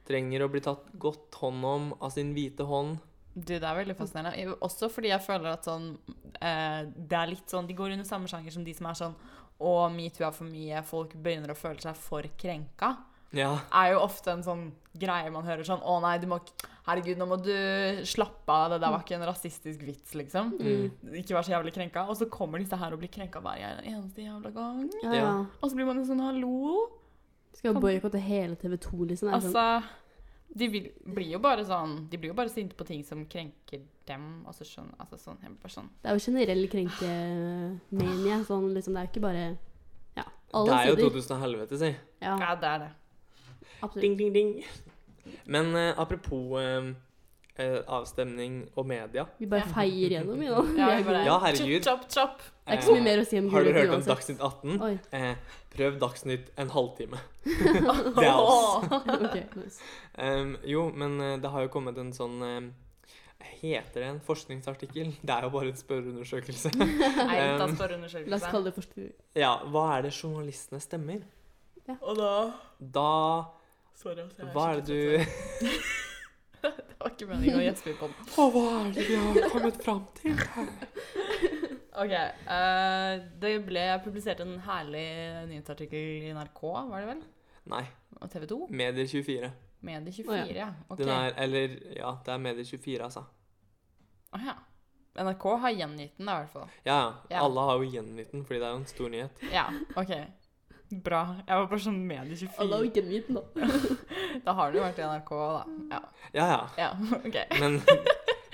[SPEAKER 2] trenger å bli tatt godt hånd om av sin hvite hånd.
[SPEAKER 3] Du, det er veldig fascinerende. Jeg- Også fordi jeg føler at sånn eh, Det er litt sånn De går under samme sjanger som de som er sånn Å, metoo er for mye, folk begynner å føle seg for krenka.
[SPEAKER 2] Ja.
[SPEAKER 3] Er jo ofte en sånn greie man hører sånn Å nei, du må ikke Herregud, nå må du slappe av. Det der var ikke en rasistisk vits, liksom.
[SPEAKER 2] Mm.
[SPEAKER 3] Ikke vær så jævlig krenka. Og så kommer disse her og blir krenka hver jævla- eneste jævla gang.
[SPEAKER 1] Ja,
[SPEAKER 2] Ja.
[SPEAKER 1] ja.
[SPEAKER 3] Og så blir man jo sånn Hallo?
[SPEAKER 1] Skal boikotte hele TV 2, liksom. Er det sånn.
[SPEAKER 3] Altså de vil, blir jo bare sånn De blir jo bare sinte på ting som krenker dem. Altså sånn, altså sånn, jeg blir bare sånn
[SPEAKER 1] Det er jo generell krenkemania. Sånn, liksom, det er jo ikke bare Ja.
[SPEAKER 2] Det
[SPEAKER 1] Alle
[SPEAKER 2] er jo
[SPEAKER 1] sider.
[SPEAKER 2] 2000 og helvete, si.
[SPEAKER 1] Ja,
[SPEAKER 3] Ja, det er det.
[SPEAKER 1] absolutt.
[SPEAKER 2] ding, ding. Men eh, apropos eh, eh, avstemning og media.
[SPEAKER 1] Vi bare
[SPEAKER 3] Ja.
[SPEAKER 1] feier gjennom, vi nå.
[SPEAKER 3] Ja, vi bare,
[SPEAKER 2] Ja, herregud.
[SPEAKER 3] Chop, chop, chop.
[SPEAKER 1] Det er ikke så mye mer å si om
[SPEAKER 2] eh, Har du
[SPEAKER 1] Gullruten
[SPEAKER 2] hørt om
[SPEAKER 1] uansett.
[SPEAKER 2] Dagsnytt 18?
[SPEAKER 1] Oi.
[SPEAKER 2] Eh, prøv Dagsnytt en halvtime.
[SPEAKER 3] Det
[SPEAKER 2] er oss.
[SPEAKER 1] Ok, nice.
[SPEAKER 2] Em, jo, men eh, det har jo kommet en sånn em, Heter det en forskningsartikkel? Det er jo bare en spørreundersøkelse.
[SPEAKER 3] Eilt av
[SPEAKER 2] Um,
[SPEAKER 1] La oss
[SPEAKER 3] spørreundersøkelse.
[SPEAKER 1] kalle det forskning.
[SPEAKER 2] ja, hva er det journalistene stemmer?
[SPEAKER 3] Og da
[SPEAKER 2] Da
[SPEAKER 3] Sorry, altså. jeg
[SPEAKER 2] Hva er
[SPEAKER 3] skikkelig
[SPEAKER 2] det du
[SPEAKER 3] trøtt.
[SPEAKER 2] Å,
[SPEAKER 3] Det var ikke meningen å gjespe på den.
[SPEAKER 2] hva er det vi har kommet fram til?
[SPEAKER 3] OK. eh, det ble publisert en herlig nyhetsartikkel i NRK, var det vel?
[SPEAKER 2] Nei.
[SPEAKER 3] Og TV 2?
[SPEAKER 2] Medier24.
[SPEAKER 3] Medie24,
[SPEAKER 1] Å,
[SPEAKER 3] ja. Ok.
[SPEAKER 2] Den er Eller ja, det er Medier24, altså.
[SPEAKER 3] Å, ja. NRK har gjengitt den, da, i hvert fall.
[SPEAKER 2] Ja, ja.
[SPEAKER 3] Ja.
[SPEAKER 2] Alle har jo gjengitt den, fordi det er jo en stor nyhet.
[SPEAKER 3] Ja, OK. Bra. Jeg var bare sånn
[SPEAKER 1] Alle har
[SPEAKER 3] Medie24.
[SPEAKER 1] jo ikke mitt, da.
[SPEAKER 3] Da har det jo vært i NRK, da. Ja.
[SPEAKER 2] Ja, ja.
[SPEAKER 3] ja. OK.
[SPEAKER 2] Men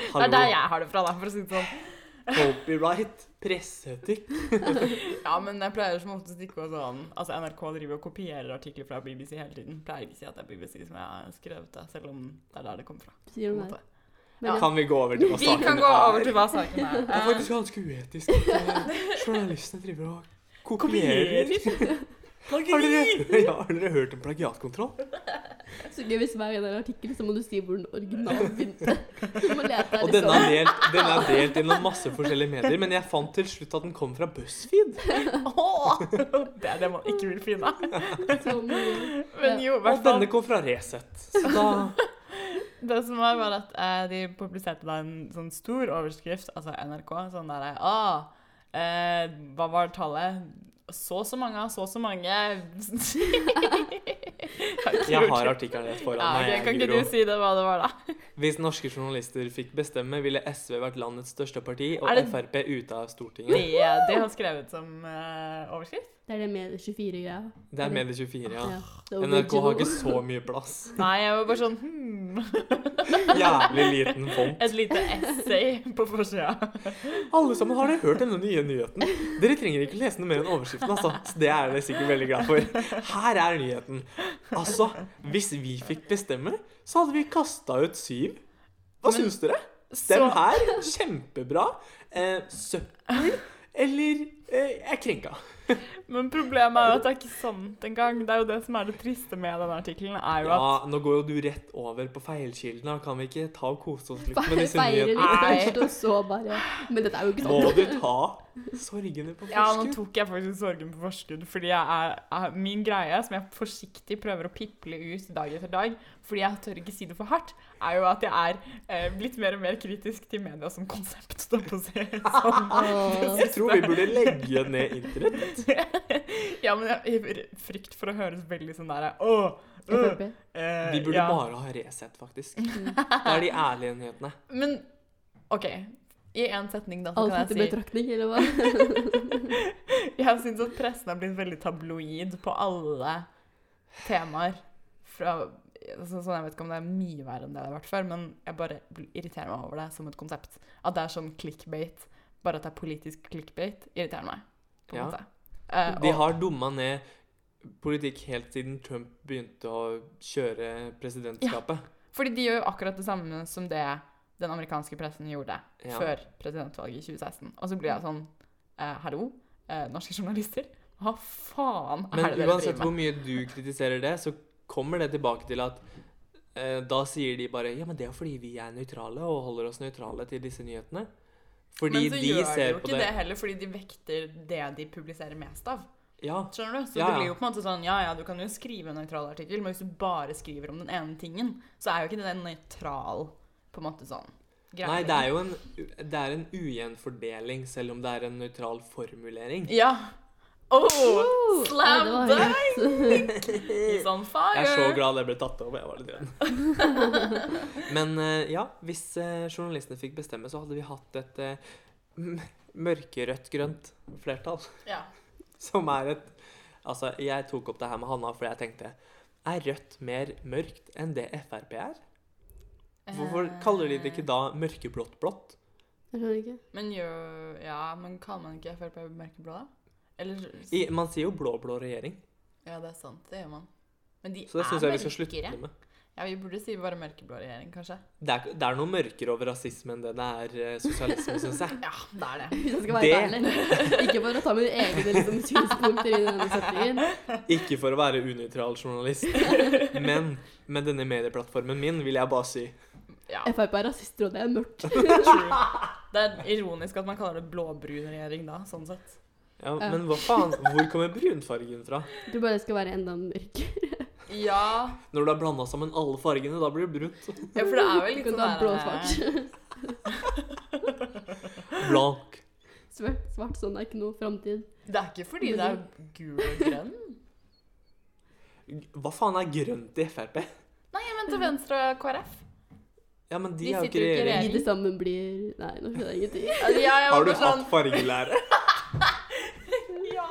[SPEAKER 3] Det er der
[SPEAKER 2] hallo.
[SPEAKER 3] jeg har det fra, da, for å si det sånn.
[SPEAKER 2] Copyright. Presseetikk.
[SPEAKER 3] Ja, men jeg pleier som oftest ikke å sånn Altså, NRK driver og kopierer artikler fra BBC hele tiden. Pleier ikke å si at det er BBC som jeg har skrevet det, selv om det er der det kommer fra.
[SPEAKER 1] Sier
[SPEAKER 3] på en
[SPEAKER 1] du det?
[SPEAKER 3] måte.
[SPEAKER 1] Men
[SPEAKER 3] Ja.
[SPEAKER 2] Kan vi gå over til hva
[SPEAKER 3] Vi
[SPEAKER 2] saken
[SPEAKER 3] kan gå over
[SPEAKER 2] er?
[SPEAKER 3] til hva saken er.
[SPEAKER 2] Det er faktisk ganske uetisk at eh, journalistene driver og kopierer.
[SPEAKER 3] liksom.
[SPEAKER 2] Har dere, ja, har dere hørt om plagiatkontroll?
[SPEAKER 1] Så gøy hvis hver gang det er en artikkel, så må du si hvor den originalen begynte. Du må lete her,
[SPEAKER 2] Og denne er delt, denne er delt gjennom masse forskjellige medier, men jeg fant til slutt at den kom fra BuzzFeed.
[SPEAKER 3] Åh, det er det man ikke vil finne.
[SPEAKER 1] Sånn, eh,
[SPEAKER 3] Men jo, i
[SPEAKER 2] Og
[SPEAKER 3] hvert fall.
[SPEAKER 2] denne kom fra Resett. Så da
[SPEAKER 3] Det som var, var at eh, de publiserte da en sånn stor overskrift, altså NRK, sånn der ah, eh, Hva var tallet? Så og så mange av så og så mange Jeg
[SPEAKER 2] Jeg har artikkelen rett
[SPEAKER 3] ja,
[SPEAKER 2] foran
[SPEAKER 3] ok,
[SPEAKER 2] meg.
[SPEAKER 3] Kan ikke
[SPEAKER 2] Guro.
[SPEAKER 3] du si det, hva det var, da?
[SPEAKER 2] Hvis norske journalister fikk bestemme, ville SV vært landets største parti, og
[SPEAKER 3] Er det-
[SPEAKER 2] Frp ute av
[SPEAKER 3] Det
[SPEAKER 2] Stortinget.
[SPEAKER 3] de har skrevet som eh, overskrift?
[SPEAKER 1] det er det med 24-greia.
[SPEAKER 2] Det er Medie24, ja.
[SPEAKER 1] Ja, det er
[SPEAKER 2] NRK har ikke
[SPEAKER 1] original.
[SPEAKER 2] så mye plass.
[SPEAKER 3] Nei, jeg var bare sånn hmm.
[SPEAKER 2] Jævlig liten font.
[SPEAKER 3] Et lite essay på forsida.
[SPEAKER 2] Alle sammen, har dere hørt denne nye nyheten? Dere trenger ikke lese noe mer enn overskriften, altså. Så det er dere sikkert veldig glad for. Her er nyheten. Altså, hvis vi fikk bestemme, så hadde vi kasta ut syv. Hva
[SPEAKER 3] Men-
[SPEAKER 2] syns dere?
[SPEAKER 3] Så
[SPEAKER 2] Dem her, kjempebra. Eh, søppel eller eh, jeg er krenka.
[SPEAKER 3] Men problemet er jo at det er ikke sant engang. Det er jo det som er det triste med denne artikkelen, er jo at
[SPEAKER 2] Ja, nå går jo du rett over på feilkilden. da. Kan vi ikke ta og kose oss litt med disse
[SPEAKER 1] Feirer litt
[SPEAKER 2] nyhetene?
[SPEAKER 3] Nei.
[SPEAKER 1] først, og så bare Men dette er jo ikke
[SPEAKER 2] Må
[SPEAKER 1] sånn.
[SPEAKER 2] du ta sorgene på
[SPEAKER 3] Ja, nå
[SPEAKER 2] forskudd?
[SPEAKER 3] tok jeg faktisk sorgen på forskudd, fordi jeg er, er min greie, som jeg forsiktig prøver å piple ut dag etter dag, fordi jeg tør ikke si det for hardt, er jo at jeg er eh, blitt mer og mer kritisk til media som konsept, da på å si det sånn.
[SPEAKER 1] Åh.
[SPEAKER 2] Jeg tror vi burde legge ned internett.
[SPEAKER 3] Ja, men jeg, jeg frykt for å høres veldig sånn der, åh, øh,
[SPEAKER 1] FrP.
[SPEAKER 3] eh,
[SPEAKER 2] Vi burde
[SPEAKER 3] ja.
[SPEAKER 2] bare ha Resett, faktisk.
[SPEAKER 3] Mm.
[SPEAKER 2] Det er de ærlige nyhetene.
[SPEAKER 3] Men, ok, i en setning da, så
[SPEAKER 1] Alt
[SPEAKER 3] kan
[SPEAKER 1] etter
[SPEAKER 3] jeg si,
[SPEAKER 1] betraktning, eller hva?
[SPEAKER 3] jeg synes at pressen har blitt veldig tabloid på alle temaer fra så, sånn, Jeg vet ikke om det er mye verre enn det det har vært før, men jeg bare bl- irriterer meg over det som et konsept. At det er sånn clickbait, bare at det er politisk clickbait, irriterer meg. På en
[SPEAKER 2] Ja.
[SPEAKER 3] måte. Eh,
[SPEAKER 2] De
[SPEAKER 3] og-
[SPEAKER 2] har dumma ned politikk helt siden Trump begynte å kjøre presidentskapet.
[SPEAKER 3] Fordi de gjør jo akkurat det samme som det den amerikanske pressen gjorde
[SPEAKER 2] Ja.
[SPEAKER 3] før presidentvalget i 2016. Og så blir jeg sånn eh, Hallo, eh, norske journalister? Hva faen er
[SPEAKER 2] Men
[SPEAKER 3] det dere
[SPEAKER 2] uansett
[SPEAKER 3] driver
[SPEAKER 2] hvor
[SPEAKER 3] med?
[SPEAKER 2] mye du kritiserer det, så kommer det tilbake til at eh, da sier de bare Ja, men det er fordi vi er nøytrale og holder oss nøytrale til disse nyhetene.
[SPEAKER 3] men
[SPEAKER 2] Fordi
[SPEAKER 3] så
[SPEAKER 2] de
[SPEAKER 3] gjør de
[SPEAKER 2] ser
[SPEAKER 3] jo
[SPEAKER 2] på
[SPEAKER 3] ikke det.
[SPEAKER 2] det.
[SPEAKER 3] heller, fordi de vekter det de publiserer mest av.
[SPEAKER 2] Ja.
[SPEAKER 3] Skjønner du? Så
[SPEAKER 2] Ja,
[SPEAKER 3] det
[SPEAKER 2] ja.
[SPEAKER 3] blir jo på en måte sånn Ja ja, du kan jo skrive en nøytral artikkel, men hvis du bare skriver om den ene tingen, så er jo ikke det en nøytral på en måte sånn greie.
[SPEAKER 2] Nei, det er jo en, det er en ujevn fordeling, selv om det er en nøytral formulering.
[SPEAKER 3] Ja. Oh,
[SPEAKER 1] Woo!
[SPEAKER 3] slam
[SPEAKER 1] Nei, det var
[SPEAKER 3] dunk!
[SPEAKER 1] helt-
[SPEAKER 3] He's on fire!
[SPEAKER 2] Jeg er så glad det ble tatt opp. Jeg var litt redd. Men eh, ja, hvis eh, journalistene fikk bestemme, så hadde vi hatt et eh, m- mørkerødt-grønt flertall.
[SPEAKER 3] Ja.
[SPEAKER 2] Som er et Altså, jeg tok opp det her med Hanna fordi jeg tenkte Er Rødt mer mørkt enn det Frp er? Hvorfor
[SPEAKER 3] Eh.
[SPEAKER 2] kaller de det ikke da mørkeblått-blått?
[SPEAKER 1] Jeg skjønner ikke.
[SPEAKER 3] Eh, Men jo, ja, men kaller man ikke Frp mørkeblå, da? Eller
[SPEAKER 2] I- Man sier jo blå-blå regjering,
[SPEAKER 3] Ja, det er sant, det gjør man. Men de
[SPEAKER 2] så det syns
[SPEAKER 3] er
[SPEAKER 2] jeg vi skal slutte
[SPEAKER 3] mørkere.
[SPEAKER 2] med.
[SPEAKER 3] Ja, vi burde si bare mørkeblå regjering, kanskje.
[SPEAKER 2] Det er, det er noe mørkere over rasisme enn det det er eh, sosialisme, syns jeg.
[SPEAKER 3] Ja, det er det.
[SPEAKER 1] Hvis jeg skal være
[SPEAKER 2] Det-
[SPEAKER 1] ærlig. Ikke for å ta mine egne liksom, synspunkter i denne settingen.
[SPEAKER 2] Ikke for å være unøytral journalist, men med denne medieplattformen min vil jeg bare si
[SPEAKER 3] Ja,
[SPEAKER 1] Frp er rasister, og det er mørkt.
[SPEAKER 3] true. Det er ironisk at man kaller det blåbrun regjering da, sånn sett.
[SPEAKER 2] ja, Men hva faen? Hvor kommer brunfargen fra?
[SPEAKER 1] Du bare skal være enda mørkere.
[SPEAKER 3] Ja,
[SPEAKER 2] Når du har blanda sammen alle fargene, da blir det brunt.
[SPEAKER 3] ja for det er vel
[SPEAKER 1] Du
[SPEAKER 3] litt
[SPEAKER 1] kan
[SPEAKER 3] sånn
[SPEAKER 1] ta
[SPEAKER 3] der-
[SPEAKER 1] blå svart.
[SPEAKER 2] Blank.
[SPEAKER 1] Svart, svart sånn er ikke noe framtid.
[SPEAKER 3] Det er ikke fordi det er gul og grønn.
[SPEAKER 2] Hva faen er grønt i Frp?
[SPEAKER 3] Nei, men til venstre og KrF.
[SPEAKER 2] Ja, men de,
[SPEAKER 3] De
[SPEAKER 2] er jo
[SPEAKER 3] sitter
[SPEAKER 2] ikke
[SPEAKER 3] jo ikke i
[SPEAKER 2] regjering.
[SPEAKER 1] Vi det sammen blir Nei, nå skjønner jeg ingenting.
[SPEAKER 3] Altså, ja, jeg var
[SPEAKER 2] Har du
[SPEAKER 3] bare sånn,
[SPEAKER 2] hatt fargelære?
[SPEAKER 3] Ja!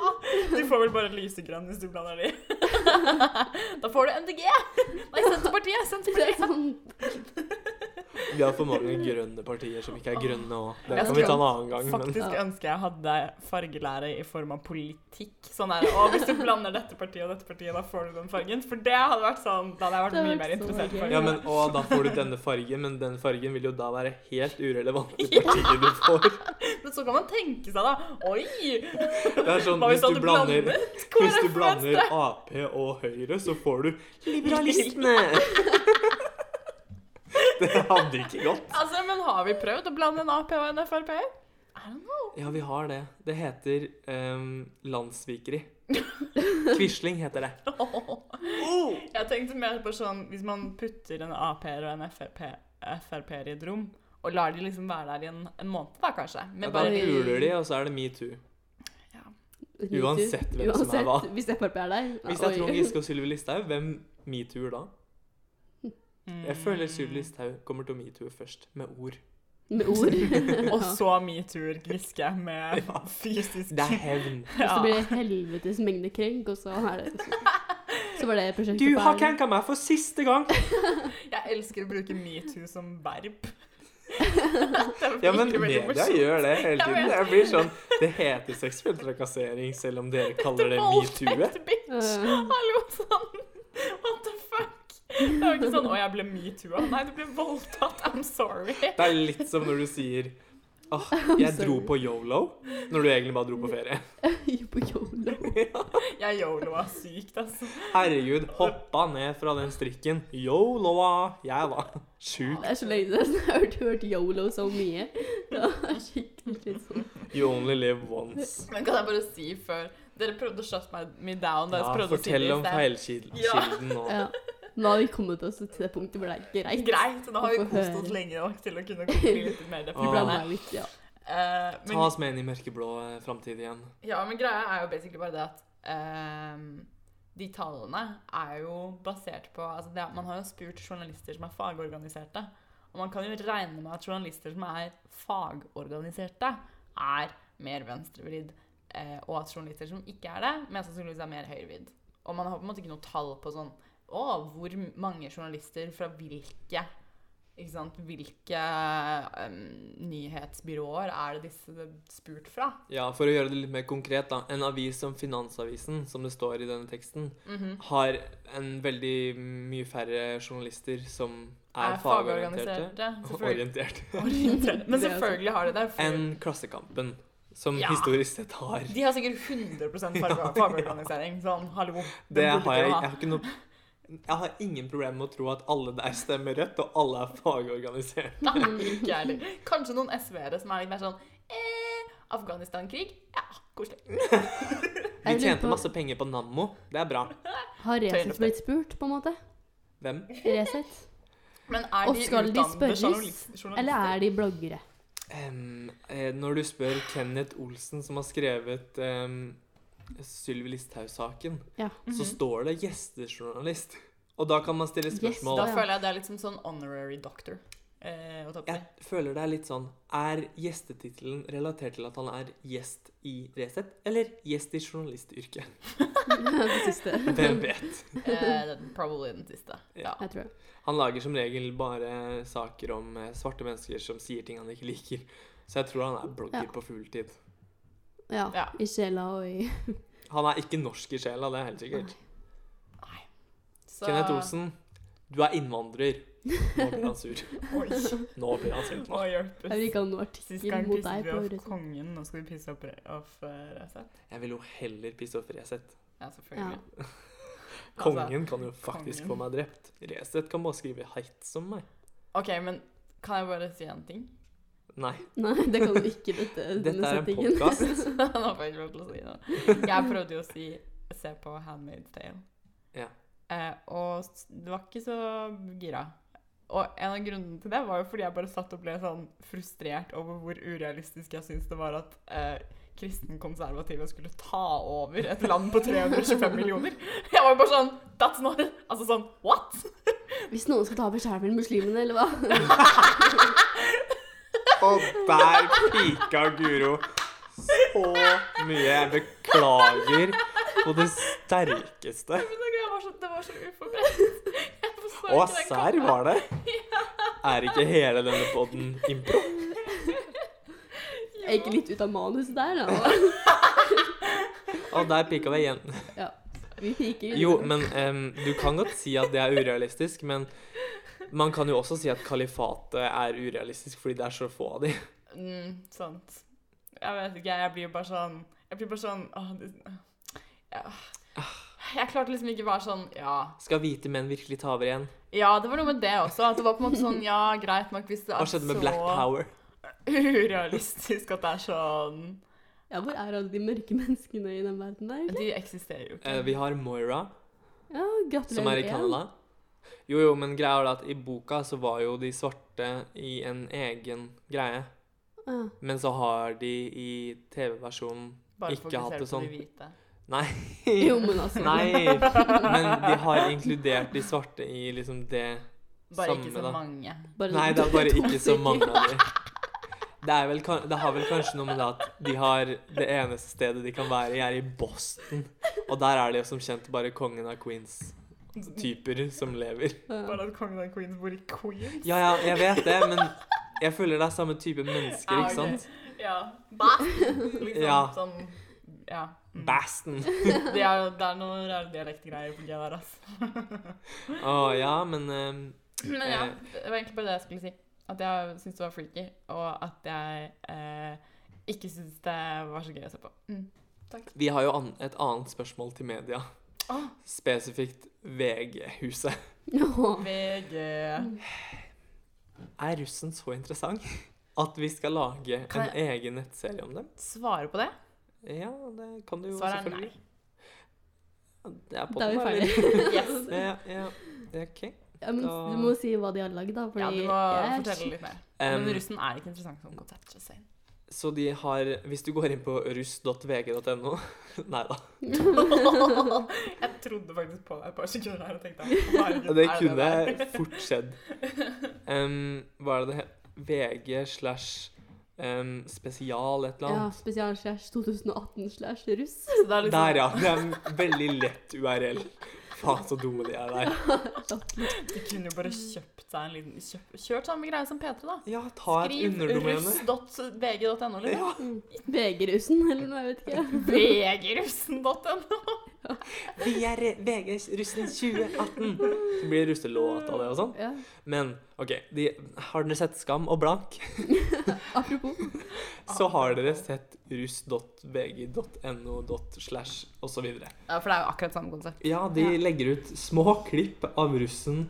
[SPEAKER 3] Du får vel bare lysegrønn hvis du blander de. da får du MDG! Nei, Senterpartiet!
[SPEAKER 1] Det er
[SPEAKER 3] sånn- Senterpartiet.
[SPEAKER 1] sånn
[SPEAKER 2] Vi har for mange grønne partier som ikke er grønne òg. Det
[SPEAKER 3] Jeg
[SPEAKER 2] kan vi ta en
[SPEAKER 3] skulle
[SPEAKER 2] annen gang. Men
[SPEAKER 3] Faktisk ønsker jeg hadde fargelære i form av politikk. Sånn der, å, hvis du blander dette partiet og dette partiet, da får du den fargen. For det hadde vært sånn, da hadde jeg
[SPEAKER 1] Det
[SPEAKER 3] vært
[SPEAKER 1] hadde
[SPEAKER 3] mye
[SPEAKER 1] vært
[SPEAKER 3] mer
[SPEAKER 1] så
[SPEAKER 3] interessert i
[SPEAKER 1] gøy.
[SPEAKER 3] fargen.
[SPEAKER 2] Ja, men å, da får du denne fargen, men den fargen vil jo da være helt urelevant til partiet du får.
[SPEAKER 3] Men så kan man tenke seg da, oi,
[SPEAKER 2] Det er sånn,
[SPEAKER 3] hva
[SPEAKER 2] hvis
[SPEAKER 3] hvis jeg
[SPEAKER 2] du
[SPEAKER 3] hadde
[SPEAKER 2] blander,
[SPEAKER 3] blandet KrF
[SPEAKER 2] hvis du blander
[SPEAKER 3] Venstre?
[SPEAKER 2] Ap og Høyre, så får du liberalistene. Det hadde ikke gått.
[SPEAKER 3] Altså, men har vi prøvd å blande en Ap og en Frp? I don't know.
[SPEAKER 2] Ja, vi har det. Det heter ehm, landssvikeri. Quisling heter det. Oh!
[SPEAKER 3] Jeg tenkte mer på sånn, hvis man putter en Ap-er og en Frp Frp-er i et rom, og lar de liksom være der i en, en måned da, kanskje.
[SPEAKER 2] Ja,
[SPEAKER 3] Men
[SPEAKER 2] da
[SPEAKER 3] bare,
[SPEAKER 1] Oi.
[SPEAKER 2] puler de, og så er det metoo.
[SPEAKER 1] Metoo.
[SPEAKER 2] Uansett hvem som er hva.
[SPEAKER 1] Hvis Frp er der.
[SPEAKER 2] Hvis det er
[SPEAKER 1] Oi.
[SPEAKER 2] Trond Giske og Sylvi Listhaug, hvem metooer da? Jeg føler
[SPEAKER 3] Mm.
[SPEAKER 2] Sylvi Listhaug kommer til å metoo først, med ord.
[SPEAKER 1] Med ord.
[SPEAKER 3] Og så metoo-er Giske med
[SPEAKER 2] Ja.
[SPEAKER 3] fysisk
[SPEAKER 2] Det er hevn.
[SPEAKER 1] Og så blir det helvetes mengde krenk, og så er det Så var det prosjektet
[SPEAKER 2] Du har
[SPEAKER 1] ferdig.
[SPEAKER 2] krenka meg for siste gang!
[SPEAKER 3] Jeg elsker å bruke metoo som verb.
[SPEAKER 2] Ja, men media gjør det hele
[SPEAKER 3] Jeg
[SPEAKER 2] tiden.
[SPEAKER 3] vet.
[SPEAKER 2] Jeg blir sånn Det heter seksuell trakassering, selv om dere kaller det metoo.
[SPEAKER 3] Voldtekt, bitch!
[SPEAKER 1] Øh.
[SPEAKER 3] Hallo, sånn. What the fuck? Det er jo ikke sånn 'Å, jeg ble metoo-a'. Nei, du ble voldtatt. I'm sorry.
[SPEAKER 2] Det er litt som når du sier Åh, jeg dro på yolo, når du egentlig bare dro på ferie.
[SPEAKER 1] Jo, på YOLO.
[SPEAKER 3] Jeg yoloa sykt, altså.
[SPEAKER 2] Herregud, hoppa ned fra den strikken. Yoloa! Jeg var sjuk.
[SPEAKER 1] Det er så lenge siden jeg har hørt, hørt YOLO så mye. Det var skikkelig slitsomt.
[SPEAKER 2] You only live once.
[SPEAKER 3] Men kan jeg bare si før Dere prøvde å shut meg- me down. Da jeg
[SPEAKER 2] Ja,
[SPEAKER 3] prøvde å si det
[SPEAKER 2] fortell
[SPEAKER 3] i
[SPEAKER 2] om
[SPEAKER 3] sted. Ja.
[SPEAKER 2] feilkilden nå.
[SPEAKER 1] Ja. Nå har vi kommet oss til det punktet hvor det er greit.
[SPEAKER 3] Greit, nå har vi
[SPEAKER 1] Få
[SPEAKER 3] kost oss
[SPEAKER 1] høre.
[SPEAKER 3] lenge nok til å kunne bli litt mer
[SPEAKER 1] Vi blanda
[SPEAKER 3] deprimerte.
[SPEAKER 2] Åh.
[SPEAKER 1] litt, ja.
[SPEAKER 3] Eh, men-
[SPEAKER 2] Ta oss med inn i mørkeblå eh, framtid igjen.
[SPEAKER 3] Ja, men greia er jo basically bare det at ehm, de tallene er jo basert på altså det, er- Man har jo spurt journalister som er fagorganiserte. Og man kan jo regne med at journalister som er fagorganiserte, er mer venstrevridd. eh, og at journalister som ikke er det, mest sannsynligvis er mer høyrevridd. Og man har på en måte ikke noe tall på sånn Å, hvor mange journalister fra hvilke ikke sant, Hvilke ehm, nyhetsbyråer er det disse spurt fra?
[SPEAKER 2] Ja, For å gjøre det litt mer konkret, da. En avis som Finansavisen, som det står i denne teksten,
[SPEAKER 3] Mhm.
[SPEAKER 2] har en veldig mye færre journalister som er,
[SPEAKER 3] er
[SPEAKER 2] fagorienterte.
[SPEAKER 3] fagorganiserte.
[SPEAKER 2] og
[SPEAKER 3] Selvfølgelig.
[SPEAKER 2] Orienterte.
[SPEAKER 3] Orienterte. Men
[SPEAKER 1] Det er
[SPEAKER 3] selvfølgelig har de det. for
[SPEAKER 2] Enn Klassekampen, som
[SPEAKER 3] Ja.
[SPEAKER 2] historisk sett har.
[SPEAKER 3] De har sikkert 100 fag- fagorganisering. Sånn, hallo.
[SPEAKER 2] Det
[SPEAKER 3] den
[SPEAKER 2] har
[SPEAKER 3] burde
[SPEAKER 2] jeg,
[SPEAKER 3] dere
[SPEAKER 2] jeg
[SPEAKER 3] ha.
[SPEAKER 2] har ikke noe jeg har ingen problemer med å tro at alle der stemmer rødt, og alle er fagorganisert.
[SPEAKER 3] Nei,
[SPEAKER 1] Mm.
[SPEAKER 3] ikke jeg heller. Kanskje noen SV-ere som er litt mer sånn eh, Afghanistan-krig? Ja, koselig.
[SPEAKER 2] Vi
[SPEAKER 1] Jeg lurer
[SPEAKER 2] tjente
[SPEAKER 1] på-
[SPEAKER 2] masse penger på Nammo. Det er bra.
[SPEAKER 1] Har Resett blitt spurt, på en måte?
[SPEAKER 2] Hvem?
[SPEAKER 1] Resett?
[SPEAKER 3] Men er
[SPEAKER 1] Og
[SPEAKER 3] de
[SPEAKER 1] skal de
[SPEAKER 3] utdannede
[SPEAKER 1] spørres,
[SPEAKER 3] journalist- journalister?
[SPEAKER 1] Eller er de bloggere?
[SPEAKER 2] Em, eh, når du spør Kenneth Olsen, som har skrevet um, Sylvi Listhaug-saken,
[SPEAKER 1] Ja.
[SPEAKER 2] så
[SPEAKER 3] Mhm.
[SPEAKER 2] står det 'gjestejournalist'. Og da kan man stille spørsmål.
[SPEAKER 3] Da
[SPEAKER 1] Ja.
[SPEAKER 3] føler jeg det er litt som sånn honorary doctor. Eh, å ta på seg.
[SPEAKER 2] Jeg føler det er litt sånn Er gjestetittelen relatert til at han er gjest i Resett, eller gjest i journalistyrket?
[SPEAKER 1] Det siste.
[SPEAKER 2] Hvem vet?
[SPEAKER 3] Eh, probably den siste. Ja.
[SPEAKER 1] Jeg tror det.
[SPEAKER 2] Han lager som regel bare saker om eh, svarte mennesker som sier ting han ikke liker. Så jeg tror han er blogger
[SPEAKER 1] Ja.
[SPEAKER 2] på fulltid.
[SPEAKER 1] Ja.
[SPEAKER 3] Ja.
[SPEAKER 1] I sjela og i
[SPEAKER 2] Han er ikke norsk i sjela, det er helt sikkert.
[SPEAKER 3] Nei. Så-
[SPEAKER 2] Kenneth Olsen, du er innvandrer. Nå blir han sur.
[SPEAKER 3] Oi.
[SPEAKER 2] Nå blir han
[SPEAKER 3] Å,
[SPEAKER 2] sint. Nå.
[SPEAKER 1] Jeg vil
[SPEAKER 3] hjelpes.
[SPEAKER 1] ikke ha noe
[SPEAKER 3] Sist
[SPEAKER 1] artikkel
[SPEAKER 3] gang
[SPEAKER 1] mot
[SPEAKER 3] pisset
[SPEAKER 1] deg
[SPEAKER 3] vi
[SPEAKER 1] på
[SPEAKER 3] off
[SPEAKER 1] Resett.
[SPEAKER 3] kongen, nå skal vi pisse opp re- off eh, Resett.
[SPEAKER 2] Jeg vil jo heller pisse off Resett.
[SPEAKER 3] Ja, selvfølgelig. Altså,
[SPEAKER 2] Kongen kan jo faktisk få
[SPEAKER 3] kongen.
[SPEAKER 2] meg drept. Resett kan bare skrive 'heit' som meg.
[SPEAKER 3] ok, men kan jeg bare si en ting?
[SPEAKER 2] Nei.
[SPEAKER 1] Nei, det kan du ikke dette,
[SPEAKER 2] Dette
[SPEAKER 1] denne
[SPEAKER 2] er en
[SPEAKER 1] settingen.
[SPEAKER 2] podkast.
[SPEAKER 3] Nå får jeg ikke lov til å si det. Jeg prøvde jo å si se på Handmaid's Tale.
[SPEAKER 2] Ja.
[SPEAKER 3] Eh, og s- det var ikke så gira. Og en av grunnene til det var jo fordi jeg bare satt og ble sånn frustrert over hvor urealistisk jeg syntes det var at eh, kristenkonservative skulle ta over et land på 325 millioner. Jeg var jo bare sånn That's not Altså sånn What?
[SPEAKER 1] Hvis noen skal ta over skjermen muslimene, eller hva?
[SPEAKER 2] Og der pika Guro så mye. Jeg beklager på det sterkeste.
[SPEAKER 3] Men det var så, det var så uforberedt. Jeg forstår
[SPEAKER 2] Og
[SPEAKER 3] ikke den
[SPEAKER 2] serr
[SPEAKER 3] kampen.
[SPEAKER 2] var det. Er ikke hele denne podden impro?
[SPEAKER 1] Jeg gikk litt ut av manuset der, da.
[SPEAKER 2] Og der pika vi igjen.
[SPEAKER 1] Vi piker.
[SPEAKER 2] Jo, men em, du kan godt si at det er urealistisk, men man kan jo også si at kalifatet er urealistisk fordi det er så få av de.
[SPEAKER 3] Mm, sant. Jeg vet ikke, jeg blir jo bare sånn Jeg blir bare sånn åh, det, ja. Jeg klarte liksom ikke bare sånn Ja.
[SPEAKER 2] Skal hvite menn virkelig ta over igjen?
[SPEAKER 3] Ja, det var noe med det også. At det var på en måte sånn Ja, greit nok hvis det
[SPEAKER 2] Hva
[SPEAKER 3] er
[SPEAKER 2] skjedde med Black Power?
[SPEAKER 3] urealistisk at det er sånn
[SPEAKER 1] Ja, hvor er alle de mørke menneskene i den verden der? egentlig?
[SPEAKER 3] De eksisterer jo ikke.
[SPEAKER 2] Eh, vi har Moira,
[SPEAKER 1] Ja, gratulerer.
[SPEAKER 2] som er i
[SPEAKER 1] igjen.
[SPEAKER 2] Canada. Jo, jo, men greia er da at i boka så var jo de svarte i en egen greie.
[SPEAKER 1] Ja.
[SPEAKER 2] Men så har de i TV-versjonen
[SPEAKER 3] Bare
[SPEAKER 2] ikke
[SPEAKER 3] fokusere
[SPEAKER 2] hatt det
[SPEAKER 3] på de
[SPEAKER 2] sånn.
[SPEAKER 3] hvite.
[SPEAKER 2] Nei.
[SPEAKER 1] Jo, men altså.
[SPEAKER 2] Nei. Men de har inkludert de svarte i liksom det
[SPEAKER 3] Bare
[SPEAKER 2] Samme,
[SPEAKER 3] ikke så
[SPEAKER 2] da.
[SPEAKER 3] mange.
[SPEAKER 1] Bare
[SPEAKER 2] Nei, det er bare
[SPEAKER 1] to
[SPEAKER 2] ikke så
[SPEAKER 1] stykker.
[SPEAKER 2] mange av de. Det, er vel, kan- det har vel kanskje noe med det at de har det eneste stedet de kan være i, er i Boston. Og der er det jo som kjent bare kongen av Queens-typer som lever.
[SPEAKER 1] Ja.
[SPEAKER 3] Bare at kongen av Queens bor i Queens.
[SPEAKER 2] Ja, ja, jeg vet det, men jeg føler det er samme type mennesker,
[SPEAKER 3] Ja,
[SPEAKER 2] ikke
[SPEAKER 3] Ah, ok.
[SPEAKER 2] sant?
[SPEAKER 3] Ja. Liksom,
[SPEAKER 2] Ja.
[SPEAKER 3] Sånn, ja. Mm.
[SPEAKER 2] Baston.
[SPEAKER 3] Det er, det er noe rare dialektgreier på G der, altså.
[SPEAKER 2] Å Ah, ja, men ehm,
[SPEAKER 3] Men ja, det var egentlig bare det jeg skulle si. At jeg syntes det var freaky, og at jeg eh, ikke syntes det var så gøy å se på. Mm.
[SPEAKER 2] vi har jo an et annet spørsmål til media.
[SPEAKER 3] Åh.
[SPEAKER 2] Spesifikt VG-huset.
[SPEAKER 1] Åh.
[SPEAKER 3] VG
[SPEAKER 2] Er russen så interessant at vi skal lage
[SPEAKER 3] Kan
[SPEAKER 2] en egen nettserie om dem?
[SPEAKER 3] Svare på det?
[SPEAKER 2] Ja, det kan du jo
[SPEAKER 3] Svaret er nei.
[SPEAKER 2] selvfølgelig. Det er på
[SPEAKER 1] Da er vi
[SPEAKER 2] den, eller?
[SPEAKER 1] ferdige.
[SPEAKER 3] Yes.
[SPEAKER 2] Ja, ja. Det er OK.
[SPEAKER 1] Ja, men
[SPEAKER 2] Da-
[SPEAKER 1] du må si hva de har lagd, da. Fordi
[SPEAKER 3] Ja, du må
[SPEAKER 1] jeg er
[SPEAKER 3] fortelle litt mer.
[SPEAKER 2] Em,
[SPEAKER 3] Men russen er ikke interessant som konsept. just saying.
[SPEAKER 2] Ehm, så de har Hvis du går inn på russ.vg.no Nei da.
[SPEAKER 3] jeg trodde faktisk på deg et par sekunder her og tenkte herregud,
[SPEAKER 2] Det
[SPEAKER 3] er
[SPEAKER 2] kunne
[SPEAKER 3] der?
[SPEAKER 2] fort skjedd. Em, hva er det det het? VG slash em, spesial et eller
[SPEAKER 1] Ja,
[SPEAKER 2] annet.
[SPEAKER 1] spesial slash 2018 slash russ.
[SPEAKER 3] Så det er liksom,
[SPEAKER 2] Der, ja. Det er en veldig lett URL. Faen, så dumme de er der.
[SPEAKER 3] De kunne jo bare kjøpt seg en liten kjøp, Kjørt samme greie som P3, da.
[SPEAKER 2] Ja, ta et
[SPEAKER 3] Skriv
[SPEAKER 2] underdomene.
[SPEAKER 3] russ.vg.no, eller noe.
[SPEAKER 1] Mm. VG-russen, eller noe, jeg vet ikke.
[SPEAKER 3] Vgrussen.no.
[SPEAKER 2] Vi er VGs russen 2018. Så blir det russelåt av det og sånn.
[SPEAKER 1] Ja.
[SPEAKER 2] Men OK, de, har dere sett Skam og Blank,
[SPEAKER 1] Apropos.
[SPEAKER 2] så har dere sett russ.vg.no slash osv.
[SPEAKER 3] Ja, for det er jo akkurat samme konsept.
[SPEAKER 2] Ja, de
[SPEAKER 1] Ja.
[SPEAKER 2] legger ut små klipp av russen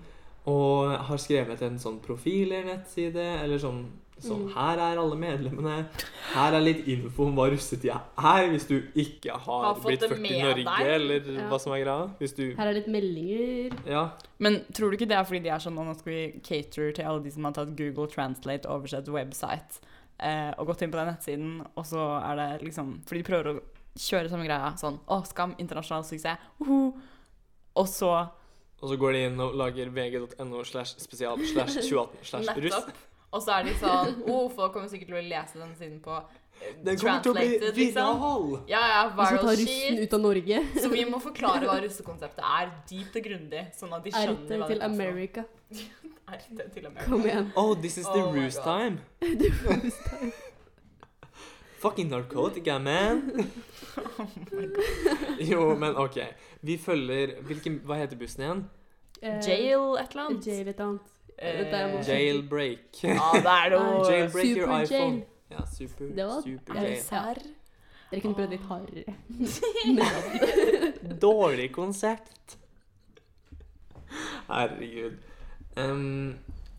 [SPEAKER 2] og har skrevet en sånn profil eller nettside, eller sånn Sånn,
[SPEAKER 1] Mm.
[SPEAKER 2] Her er alle medlemmene. Her er litt info om hva russetida er, hvis du ikke har,
[SPEAKER 3] Har fått
[SPEAKER 2] blitt
[SPEAKER 3] det
[SPEAKER 2] 40 i
[SPEAKER 3] med
[SPEAKER 2] Norge,
[SPEAKER 3] deg.
[SPEAKER 2] eller
[SPEAKER 1] Ja.
[SPEAKER 2] hva som er greia. Hvis du
[SPEAKER 1] Her er litt meldinger.
[SPEAKER 2] Ja.
[SPEAKER 3] Men tror du ikke det er fordi de er sånn nå skal vi cater til alle de som har tatt Google Translate, oversett website, eh, og gått inn på den nettsiden, og så er det liksom Fordi de prøver å kjøre samme greia. Sånn Å, Skam, internasjonal suksess. Uhu. Og så
[SPEAKER 2] Og så går de inn og lager vg.no slash spesial slash 2018 slash russ.
[SPEAKER 3] Nettopp. Og så er de sånn Å, folk kommer sikkert til å lese den siden på eh, liksom».
[SPEAKER 2] Den kommer til å bli viral!
[SPEAKER 3] Ja, ja,
[SPEAKER 1] Vi skal ta
[SPEAKER 3] viral
[SPEAKER 1] russen
[SPEAKER 3] shit.
[SPEAKER 1] ut av Norge.
[SPEAKER 3] Så vi må forklare hva russekonseptet er, dypt og grundig, sånn at de
[SPEAKER 1] RT
[SPEAKER 3] skjønner hva
[SPEAKER 1] eh, til
[SPEAKER 3] er for noe.
[SPEAKER 1] America.
[SPEAKER 3] RT til Amerika.
[SPEAKER 1] Kom igjen.
[SPEAKER 2] Oh, this is the
[SPEAKER 3] Oh my
[SPEAKER 2] ruse
[SPEAKER 3] God.
[SPEAKER 2] time. Fucking narkotika, man. jo, men OK. Vi følger hvilken, Hva heter bussen igjen?
[SPEAKER 1] Eh,
[SPEAKER 3] Jail et eller annet.
[SPEAKER 1] Jail et annet.
[SPEAKER 3] Eh,
[SPEAKER 1] Dette er morsomt.
[SPEAKER 2] Jailbreak.
[SPEAKER 3] Ja, det er noe
[SPEAKER 1] Nei,
[SPEAKER 2] Jailbreak your
[SPEAKER 1] Super
[SPEAKER 2] iPhone.
[SPEAKER 1] jail.
[SPEAKER 2] Ja, super,
[SPEAKER 1] Det var-
[SPEAKER 2] super
[SPEAKER 1] Ja.
[SPEAKER 2] jail.
[SPEAKER 3] Serr?
[SPEAKER 1] Dere kunne prøvd litt hardere.
[SPEAKER 3] Ah.
[SPEAKER 1] Men-
[SPEAKER 2] Dårlig konsept. Herregud. Em,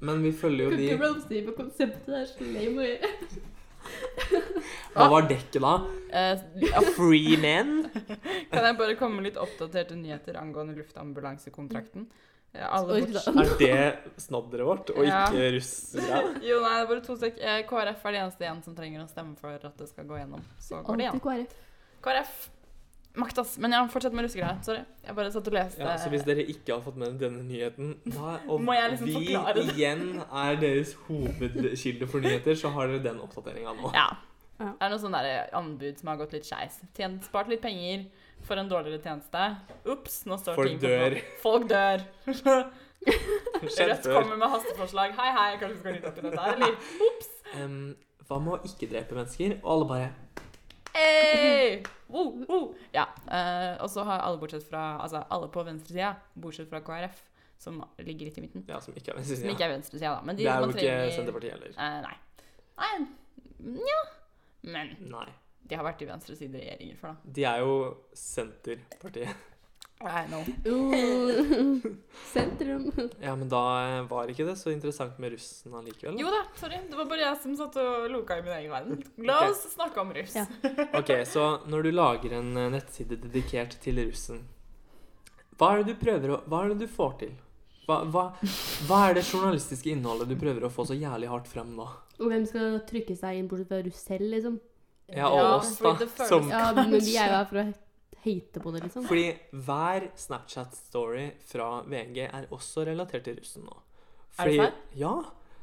[SPEAKER 2] men vi følger jo
[SPEAKER 1] Kan ikke
[SPEAKER 2] de
[SPEAKER 1] blomstre på konseptet. Det er så lame å gjøre.
[SPEAKER 2] Hva var dekket, da?
[SPEAKER 3] Eh,
[SPEAKER 2] Free men?
[SPEAKER 3] kan jeg bare komme med litt oppdaterte nyheter angående luftambulansekontrakten? Eh, Alle
[SPEAKER 1] Mm. Oi,
[SPEAKER 3] borts-
[SPEAKER 1] da.
[SPEAKER 2] Er det snodderet vårt, og
[SPEAKER 3] Ja.
[SPEAKER 2] ikke russere?
[SPEAKER 3] Jo, nei, det er bare to sek. Eh, KrF er de eneste igjen som trenger å stemme for at det skal gå gjennom. Så går det
[SPEAKER 1] Alltid
[SPEAKER 3] igjen.
[SPEAKER 1] KrF.
[SPEAKER 3] KrF. Makt, ass. Men ja, fortsett med russegreia. Sorry. Jeg bare satt og leste.
[SPEAKER 2] Ja, så hvis dere ikke har fått med denne nyheten, da, og
[SPEAKER 3] Må jeg liksom
[SPEAKER 2] vi
[SPEAKER 3] forklare det?
[SPEAKER 2] igjen er deres hovedkilde for nyheter, så har dere den oppdateringa nå.
[SPEAKER 3] Ja.
[SPEAKER 1] Ja.
[SPEAKER 3] Det er noe sånn der anbud som har gått litt skeis. Tjent- Spart litt penger for en dårligere tjeneste. Ops, nå står
[SPEAKER 2] Folk
[SPEAKER 3] ting
[SPEAKER 2] dør.
[SPEAKER 3] på blå. Folk dør.
[SPEAKER 2] Skjedd
[SPEAKER 3] Rødt
[SPEAKER 2] før.
[SPEAKER 3] kommer med hasteforslag. Hei, hei, kanskje vi skal rydde opp i dette her, eller? Ops!
[SPEAKER 2] Em, hva med å ikke drepe mennesker? Og alle bare
[SPEAKER 3] Hey! Wow, wow. Ja. eh, og så har alle bortsett fra Altså alle på venstresida, bortsett fra KrF, som ligger litt i midten.
[SPEAKER 2] Ja, som ikke er
[SPEAKER 3] Som
[SPEAKER 2] venstresida.
[SPEAKER 3] ikke er venstresida, da. Men de
[SPEAKER 2] Det er jo
[SPEAKER 3] man
[SPEAKER 2] ikke
[SPEAKER 3] trenger-
[SPEAKER 2] Senterpartiet heller.
[SPEAKER 3] Eh, nei. Nei Nja. Men
[SPEAKER 2] Nei.
[SPEAKER 3] de har vært i venstresideregjeringer for, da.
[SPEAKER 2] De er jo Senterpartiet.
[SPEAKER 3] I know.
[SPEAKER 1] Uh, sentrum.
[SPEAKER 2] Ja, men da eh, var ikke det så interessant med russen allikevel. da.
[SPEAKER 3] Jo da, sorry. Det var bare jeg som satt og loka i min egen verden. La
[SPEAKER 2] Ok.
[SPEAKER 3] oss snakke om russ.
[SPEAKER 1] Ja.
[SPEAKER 2] Ok, så når du lager en eh, nettside dedikert til russen, hva er det du prøver å Hva er det du får til? Hva, hva, hva er det journalistiske innholdet du prøver å få så jævlig hardt frem nå?
[SPEAKER 1] Og hvem skal trykke seg inn bortsett fra russ selv, liksom?
[SPEAKER 2] Ja, og oss, da.
[SPEAKER 3] fordi det føles-
[SPEAKER 2] Som
[SPEAKER 1] Ja, men vi er jo her for å hate på det, liksom.
[SPEAKER 2] Fordi hver Snapchat-story fra VG er også relatert til russen nå.
[SPEAKER 3] Er det sant?
[SPEAKER 2] Ja.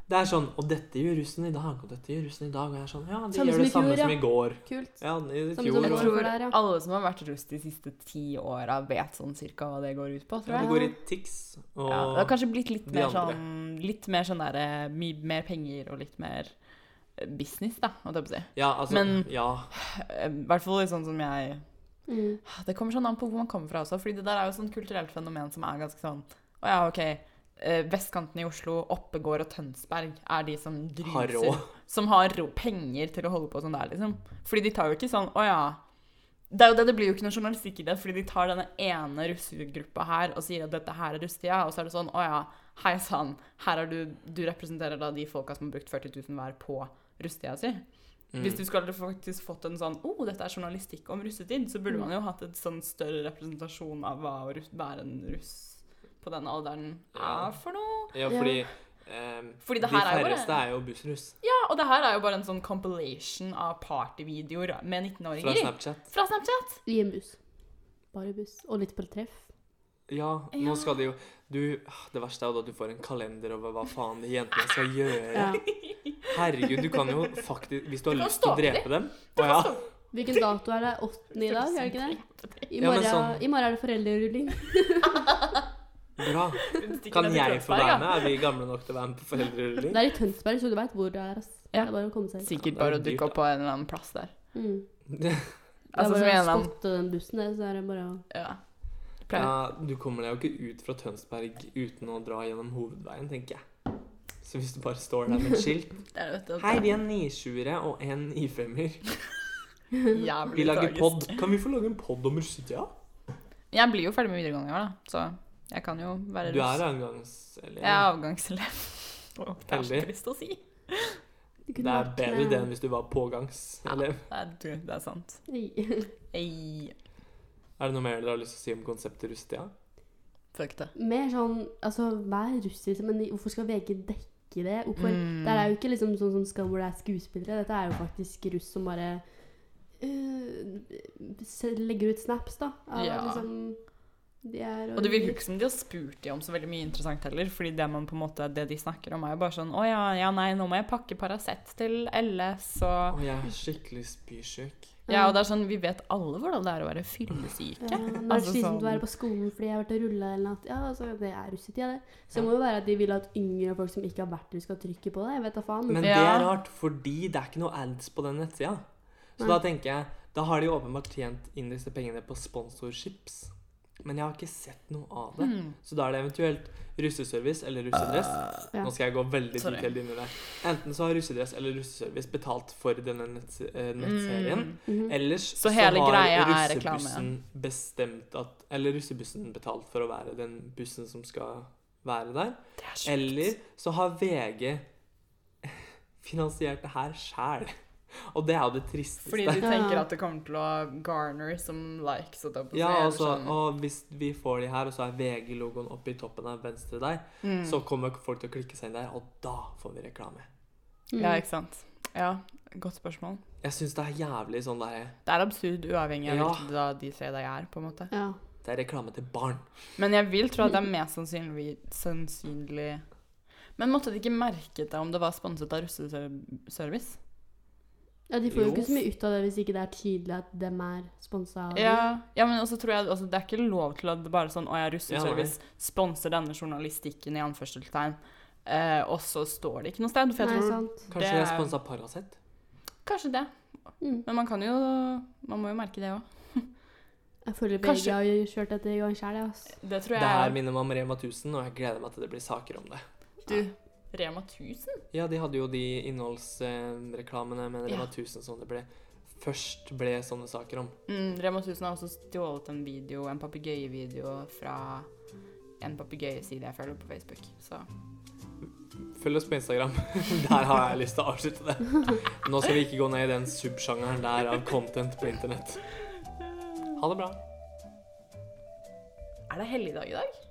[SPEAKER 2] Det er sånn Og dette gjør russen i dag, og dette gjør russen i dag. Og jeg er sånn Ja, de
[SPEAKER 1] Samme
[SPEAKER 2] gjør det
[SPEAKER 1] som i
[SPEAKER 2] samme
[SPEAKER 1] fjor,
[SPEAKER 2] som
[SPEAKER 1] ja.
[SPEAKER 2] i går.
[SPEAKER 1] Kult.
[SPEAKER 2] Ja, i
[SPEAKER 1] Samme som
[SPEAKER 2] fjor.
[SPEAKER 1] i
[SPEAKER 3] Jeg
[SPEAKER 2] og-
[SPEAKER 1] går.
[SPEAKER 3] tror
[SPEAKER 1] der, ja.
[SPEAKER 3] alle som har vært russ de siste ti åra, vet sånn cirka hva det går ut på, tror jeg.
[SPEAKER 2] Ja, det går i TIX og
[SPEAKER 3] Ja, det har kanskje blitt litt
[SPEAKER 2] de
[SPEAKER 3] mer
[SPEAKER 2] andre.
[SPEAKER 3] sånn, litt mer sånn der, eh, mye mer penger og litt mer eh, business, da, holdt jeg på å si.
[SPEAKER 2] Ja, altså
[SPEAKER 3] Men-
[SPEAKER 2] Ja.
[SPEAKER 3] Eh, I hvert fall litt sånn som jeg
[SPEAKER 1] Mm.
[SPEAKER 3] Det kommer sånn an på hvor man kommer fra også, fordi det der er jo sånn kulturelt fenomen som er ganske sånn Å ja, OK. eh, Vestkanten i Oslo, Oppegård og Tønsberg er de som
[SPEAKER 2] Har
[SPEAKER 3] druser
[SPEAKER 2] råd.
[SPEAKER 3] Som har ro penger til å holde på sånn der, liksom. Fordi de tar jo ikke sånn Å ja. Det er jo det, det blir jo ikke noe journalistikk i det, fordi de tar denne ene russegruppa her og sier at dette her er russetida, og så er det sånn Å ja, hei sann, her er du Du representerer da de folka som har brukt 40 000 hver på russetida si.
[SPEAKER 2] Mm.
[SPEAKER 3] Hvis du skulle faktisk fått en sånn Å, dette er journalistikk om russetid, så burde
[SPEAKER 1] Mm.
[SPEAKER 3] man jo hatt en sånn større representasjon av hva å rus- være en russ på denne alderen
[SPEAKER 2] Ja.
[SPEAKER 3] er for noe.
[SPEAKER 2] Ja,
[SPEAKER 1] Ja.
[SPEAKER 2] fordi, ehm,
[SPEAKER 3] Fordi det
[SPEAKER 2] de
[SPEAKER 3] her er jo bare-
[SPEAKER 2] færreste er jo bussruss
[SPEAKER 3] Ja, og det her er jo bare en sånn compilation av partyvideoer med
[SPEAKER 2] fra
[SPEAKER 3] 19-åringer i.
[SPEAKER 2] Snapchat.
[SPEAKER 3] Fra Snapchat!
[SPEAKER 1] I en buss. Bare buss. Og litt på et treff.
[SPEAKER 2] Ja,
[SPEAKER 3] Ja.
[SPEAKER 2] nå skal de jo du, ah, Det verste er jo da at du får en kalender over hva faen de jentene skal gjøre.
[SPEAKER 1] Ja.
[SPEAKER 2] Herregud, du kan jo faktisk Hvis du har
[SPEAKER 3] Du kan
[SPEAKER 2] lyst til å
[SPEAKER 3] stalke
[SPEAKER 2] drepe dem
[SPEAKER 3] Du
[SPEAKER 2] Å
[SPEAKER 3] kan
[SPEAKER 2] ja.
[SPEAKER 3] stå-
[SPEAKER 1] Hvilken dato er det? Åttende i dag, er det ikke det? I
[SPEAKER 2] Ja, men
[SPEAKER 1] morgen,
[SPEAKER 2] sånn-
[SPEAKER 1] i morgen er det foreldrerulling.
[SPEAKER 2] Bra.
[SPEAKER 3] Stikker
[SPEAKER 2] Kan
[SPEAKER 3] ned til
[SPEAKER 2] jeg få
[SPEAKER 3] Tønsberg,
[SPEAKER 2] være
[SPEAKER 3] ja.
[SPEAKER 2] med? Er vi gamle nok til å være med på
[SPEAKER 1] Det
[SPEAKER 2] foreldrerulling?
[SPEAKER 1] er i Tønsberg, så du veit hvor det er. Ass.
[SPEAKER 3] Ja.
[SPEAKER 1] Det er bare å komme seg hit.
[SPEAKER 3] Sikkert
[SPEAKER 2] Ja,
[SPEAKER 3] bare å
[SPEAKER 2] det er dyrt,
[SPEAKER 3] dukke opp på en eller annen plass der.
[SPEAKER 1] Mm. Det er
[SPEAKER 3] Altså som en
[SPEAKER 1] bare å
[SPEAKER 3] eller annen
[SPEAKER 1] spotte den bussen der, så er det bare å
[SPEAKER 3] ja.
[SPEAKER 2] Ja,
[SPEAKER 3] Pleier.
[SPEAKER 2] du kommer deg jo ikke ut fra Tønsberg uten å dra gjennom hovedveien, tenker jeg. Så hvis du bare står der med et skilt
[SPEAKER 3] Det er jo et-
[SPEAKER 2] Hei, vi er nisjuere og en ifemmer.
[SPEAKER 3] jævlig
[SPEAKER 2] Vi lager
[SPEAKER 3] tragisk.
[SPEAKER 2] pod. Kan vi få lage en pod om russetida?
[SPEAKER 3] Jeg blir jo ferdig med videregående i år, da, så jeg kan jo være
[SPEAKER 2] Du er
[SPEAKER 3] russ.
[SPEAKER 2] avgangs... Eller,
[SPEAKER 3] Jeg er avgangselev. Åh, Det er så
[SPEAKER 2] Heldig.
[SPEAKER 3] trist å si.
[SPEAKER 1] Det
[SPEAKER 2] Det er bedre det enn hvis du var pågangselev.
[SPEAKER 3] Det er, du, det er sant.
[SPEAKER 1] Nei.
[SPEAKER 3] Ei,
[SPEAKER 2] Er det noe mer dere har lyst til å si om konseptet russetida?
[SPEAKER 3] fuck det.
[SPEAKER 1] Mer sånn Altså, vær russisk, men hvorfor skal VG dekke det? Hvorfor?
[SPEAKER 3] Mm.
[SPEAKER 1] Det er jo ikke liksom sånn som Skam hvor det er skuespillere. Dette er jo faktisk russ som bare øh, se- legger ut snaps, da. Av,
[SPEAKER 3] Ja.
[SPEAKER 1] liksom, de er
[SPEAKER 3] Og det virker jo ikke som de har spurt de om så veldig mye interessant heller, fordi det man på en måte, det de snakker om er jo bare sånn, å ja, ja nei, nå må jeg pakke Paracet til LS, og
[SPEAKER 2] Å, jeg er skikkelig spysjuk.
[SPEAKER 3] ja, og det er sånn, vi vet alle hvordan det er å være fyllesyke.
[SPEAKER 1] Ja, nå er det
[SPEAKER 3] Altså
[SPEAKER 1] slitsomt å
[SPEAKER 3] sånn-
[SPEAKER 1] være på skolen fordi jeg har vært og rulla eller noe. Ja, altså, det er russetida, det. Så det må jo være at de vil at yngre folk som ikke har vært russ, skal trykke på det. Jeg vet da faen.
[SPEAKER 2] Men
[SPEAKER 1] Men,
[SPEAKER 2] det er
[SPEAKER 3] Ja.
[SPEAKER 2] rart, fordi det er ikke noe ads på den nettsida. Så
[SPEAKER 1] Nei.
[SPEAKER 2] da tenker jeg Da har de åpenbart tjent inn disse pengene på sponsorships. Men jeg har ikke sett noe av det.
[SPEAKER 3] Mm.
[SPEAKER 2] Så da er det eventuelt russeservice eller russedress.
[SPEAKER 1] ja.
[SPEAKER 2] Nå skal jeg gå veldig
[SPEAKER 3] Sorry.
[SPEAKER 2] detaljert inn i det. Enten så har russedress eller russeservice betalt for denne nett, eh, nettserien.
[SPEAKER 3] Mm.
[SPEAKER 1] mhm.
[SPEAKER 2] Ellers
[SPEAKER 3] Så hele
[SPEAKER 2] har
[SPEAKER 3] greia er reklame,
[SPEAKER 2] russebussen bestemt at Eller russebussen betalt for å være den bussen som skal være der.
[SPEAKER 3] Det er sjukt.
[SPEAKER 2] Eller så har VG finansiert det her sjæl. Og det er jo det tristeste.
[SPEAKER 3] Fordi de
[SPEAKER 1] Ja.
[SPEAKER 3] tenker at det kommer til å garner som likes, og da på
[SPEAKER 2] ja,
[SPEAKER 3] seg, eller
[SPEAKER 2] altså,
[SPEAKER 3] sånn.
[SPEAKER 2] og hvis vi får de her, og så er VG-logoen oppe i toppen av venstre der,
[SPEAKER 3] Mm.
[SPEAKER 2] så kommer folk til å klikke seg inn der, og da får vi reklame.
[SPEAKER 1] Mm.
[SPEAKER 3] Ja, ikke sant? Ja, godt spørsmål.
[SPEAKER 2] Jeg syns det er jævlig sånn derre
[SPEAKER 3] Det er absurd uavhengig av
[SPEAKER 2] Ja.
[SPEAKER 3] hvilket da de tre deg er, på en måte.
[SPEAKER 1] ja.
[SPEAKER 2] Det er reklame til barn.
[SPEAKER 3] Men jeg vil tro at det er mest sannsynlig, sannsynlig Men måtte de ikke merket det om det var sponset av russeservice?
[SPEAKER 1] Ja, De får jo
[SPEAKER 2] Jo.
[SPEAKER 1] ikke så mye ut av det hvis ikke det er tydelig at dem er sponsa av dem.
[SPEAKER 3] Ja, ja men også tror jeg altså, Det er ikke lov til at det bare er sånn Å ja, Russeservice sponser denne journalistikken, i anførselstegn. Eh, og så står det ikke noe sted. For jeg
[SPEAKER 1] Nei,
[SPEAKER 3] tror
[SPEAKER 1] sant.
[SPEAKER 2] Kanskje
[SPEAKER 3] Det
[SPEAKER 2] det er
[SPEAKER 3] er-
[SPEAKER 2] sponsa Paracet?
[SPEAKER 3] Kanskje det.
[SPEAKER 1] Mm.
[SPEAKER 3] Men man kan jo Man må jo merke det òg.
[SPEAKER 1] Jeg føler begge
[SPEAKER 3] Kanskje-
[SPEAKER 1] har jo kjørt dette i gang sjæl, jeg. ass.
[SPEAKER 3] Det tror
[SPEAKER 2] Det
[SPEAKER 3] jeg
[SPEAKER 2] her minner meg om Rema 1000, og jeg gleder meg til det blir saker om det.
[SPEAKER 3] Du, Rema 1000?
[SPEAKER 2] Ja, de hadde jo de innholdsreklamene med Rema 1000 som det ble først ble sånne saker om.
[SPEAKER 3] Mm, Rema 1000 har også stjålet en video, en papegøyevideo, fra en papegøyeside jeg følger på Facebook. Så
[SPEAKER 2] Følg oss på Instagram. Der har jeg lyst til å avslutte det. Nå skal vi ikke gå ned i den subsjangeren der av content på internett. Ha det bra.
[SPEAKER 3] Er det helligdag i dag?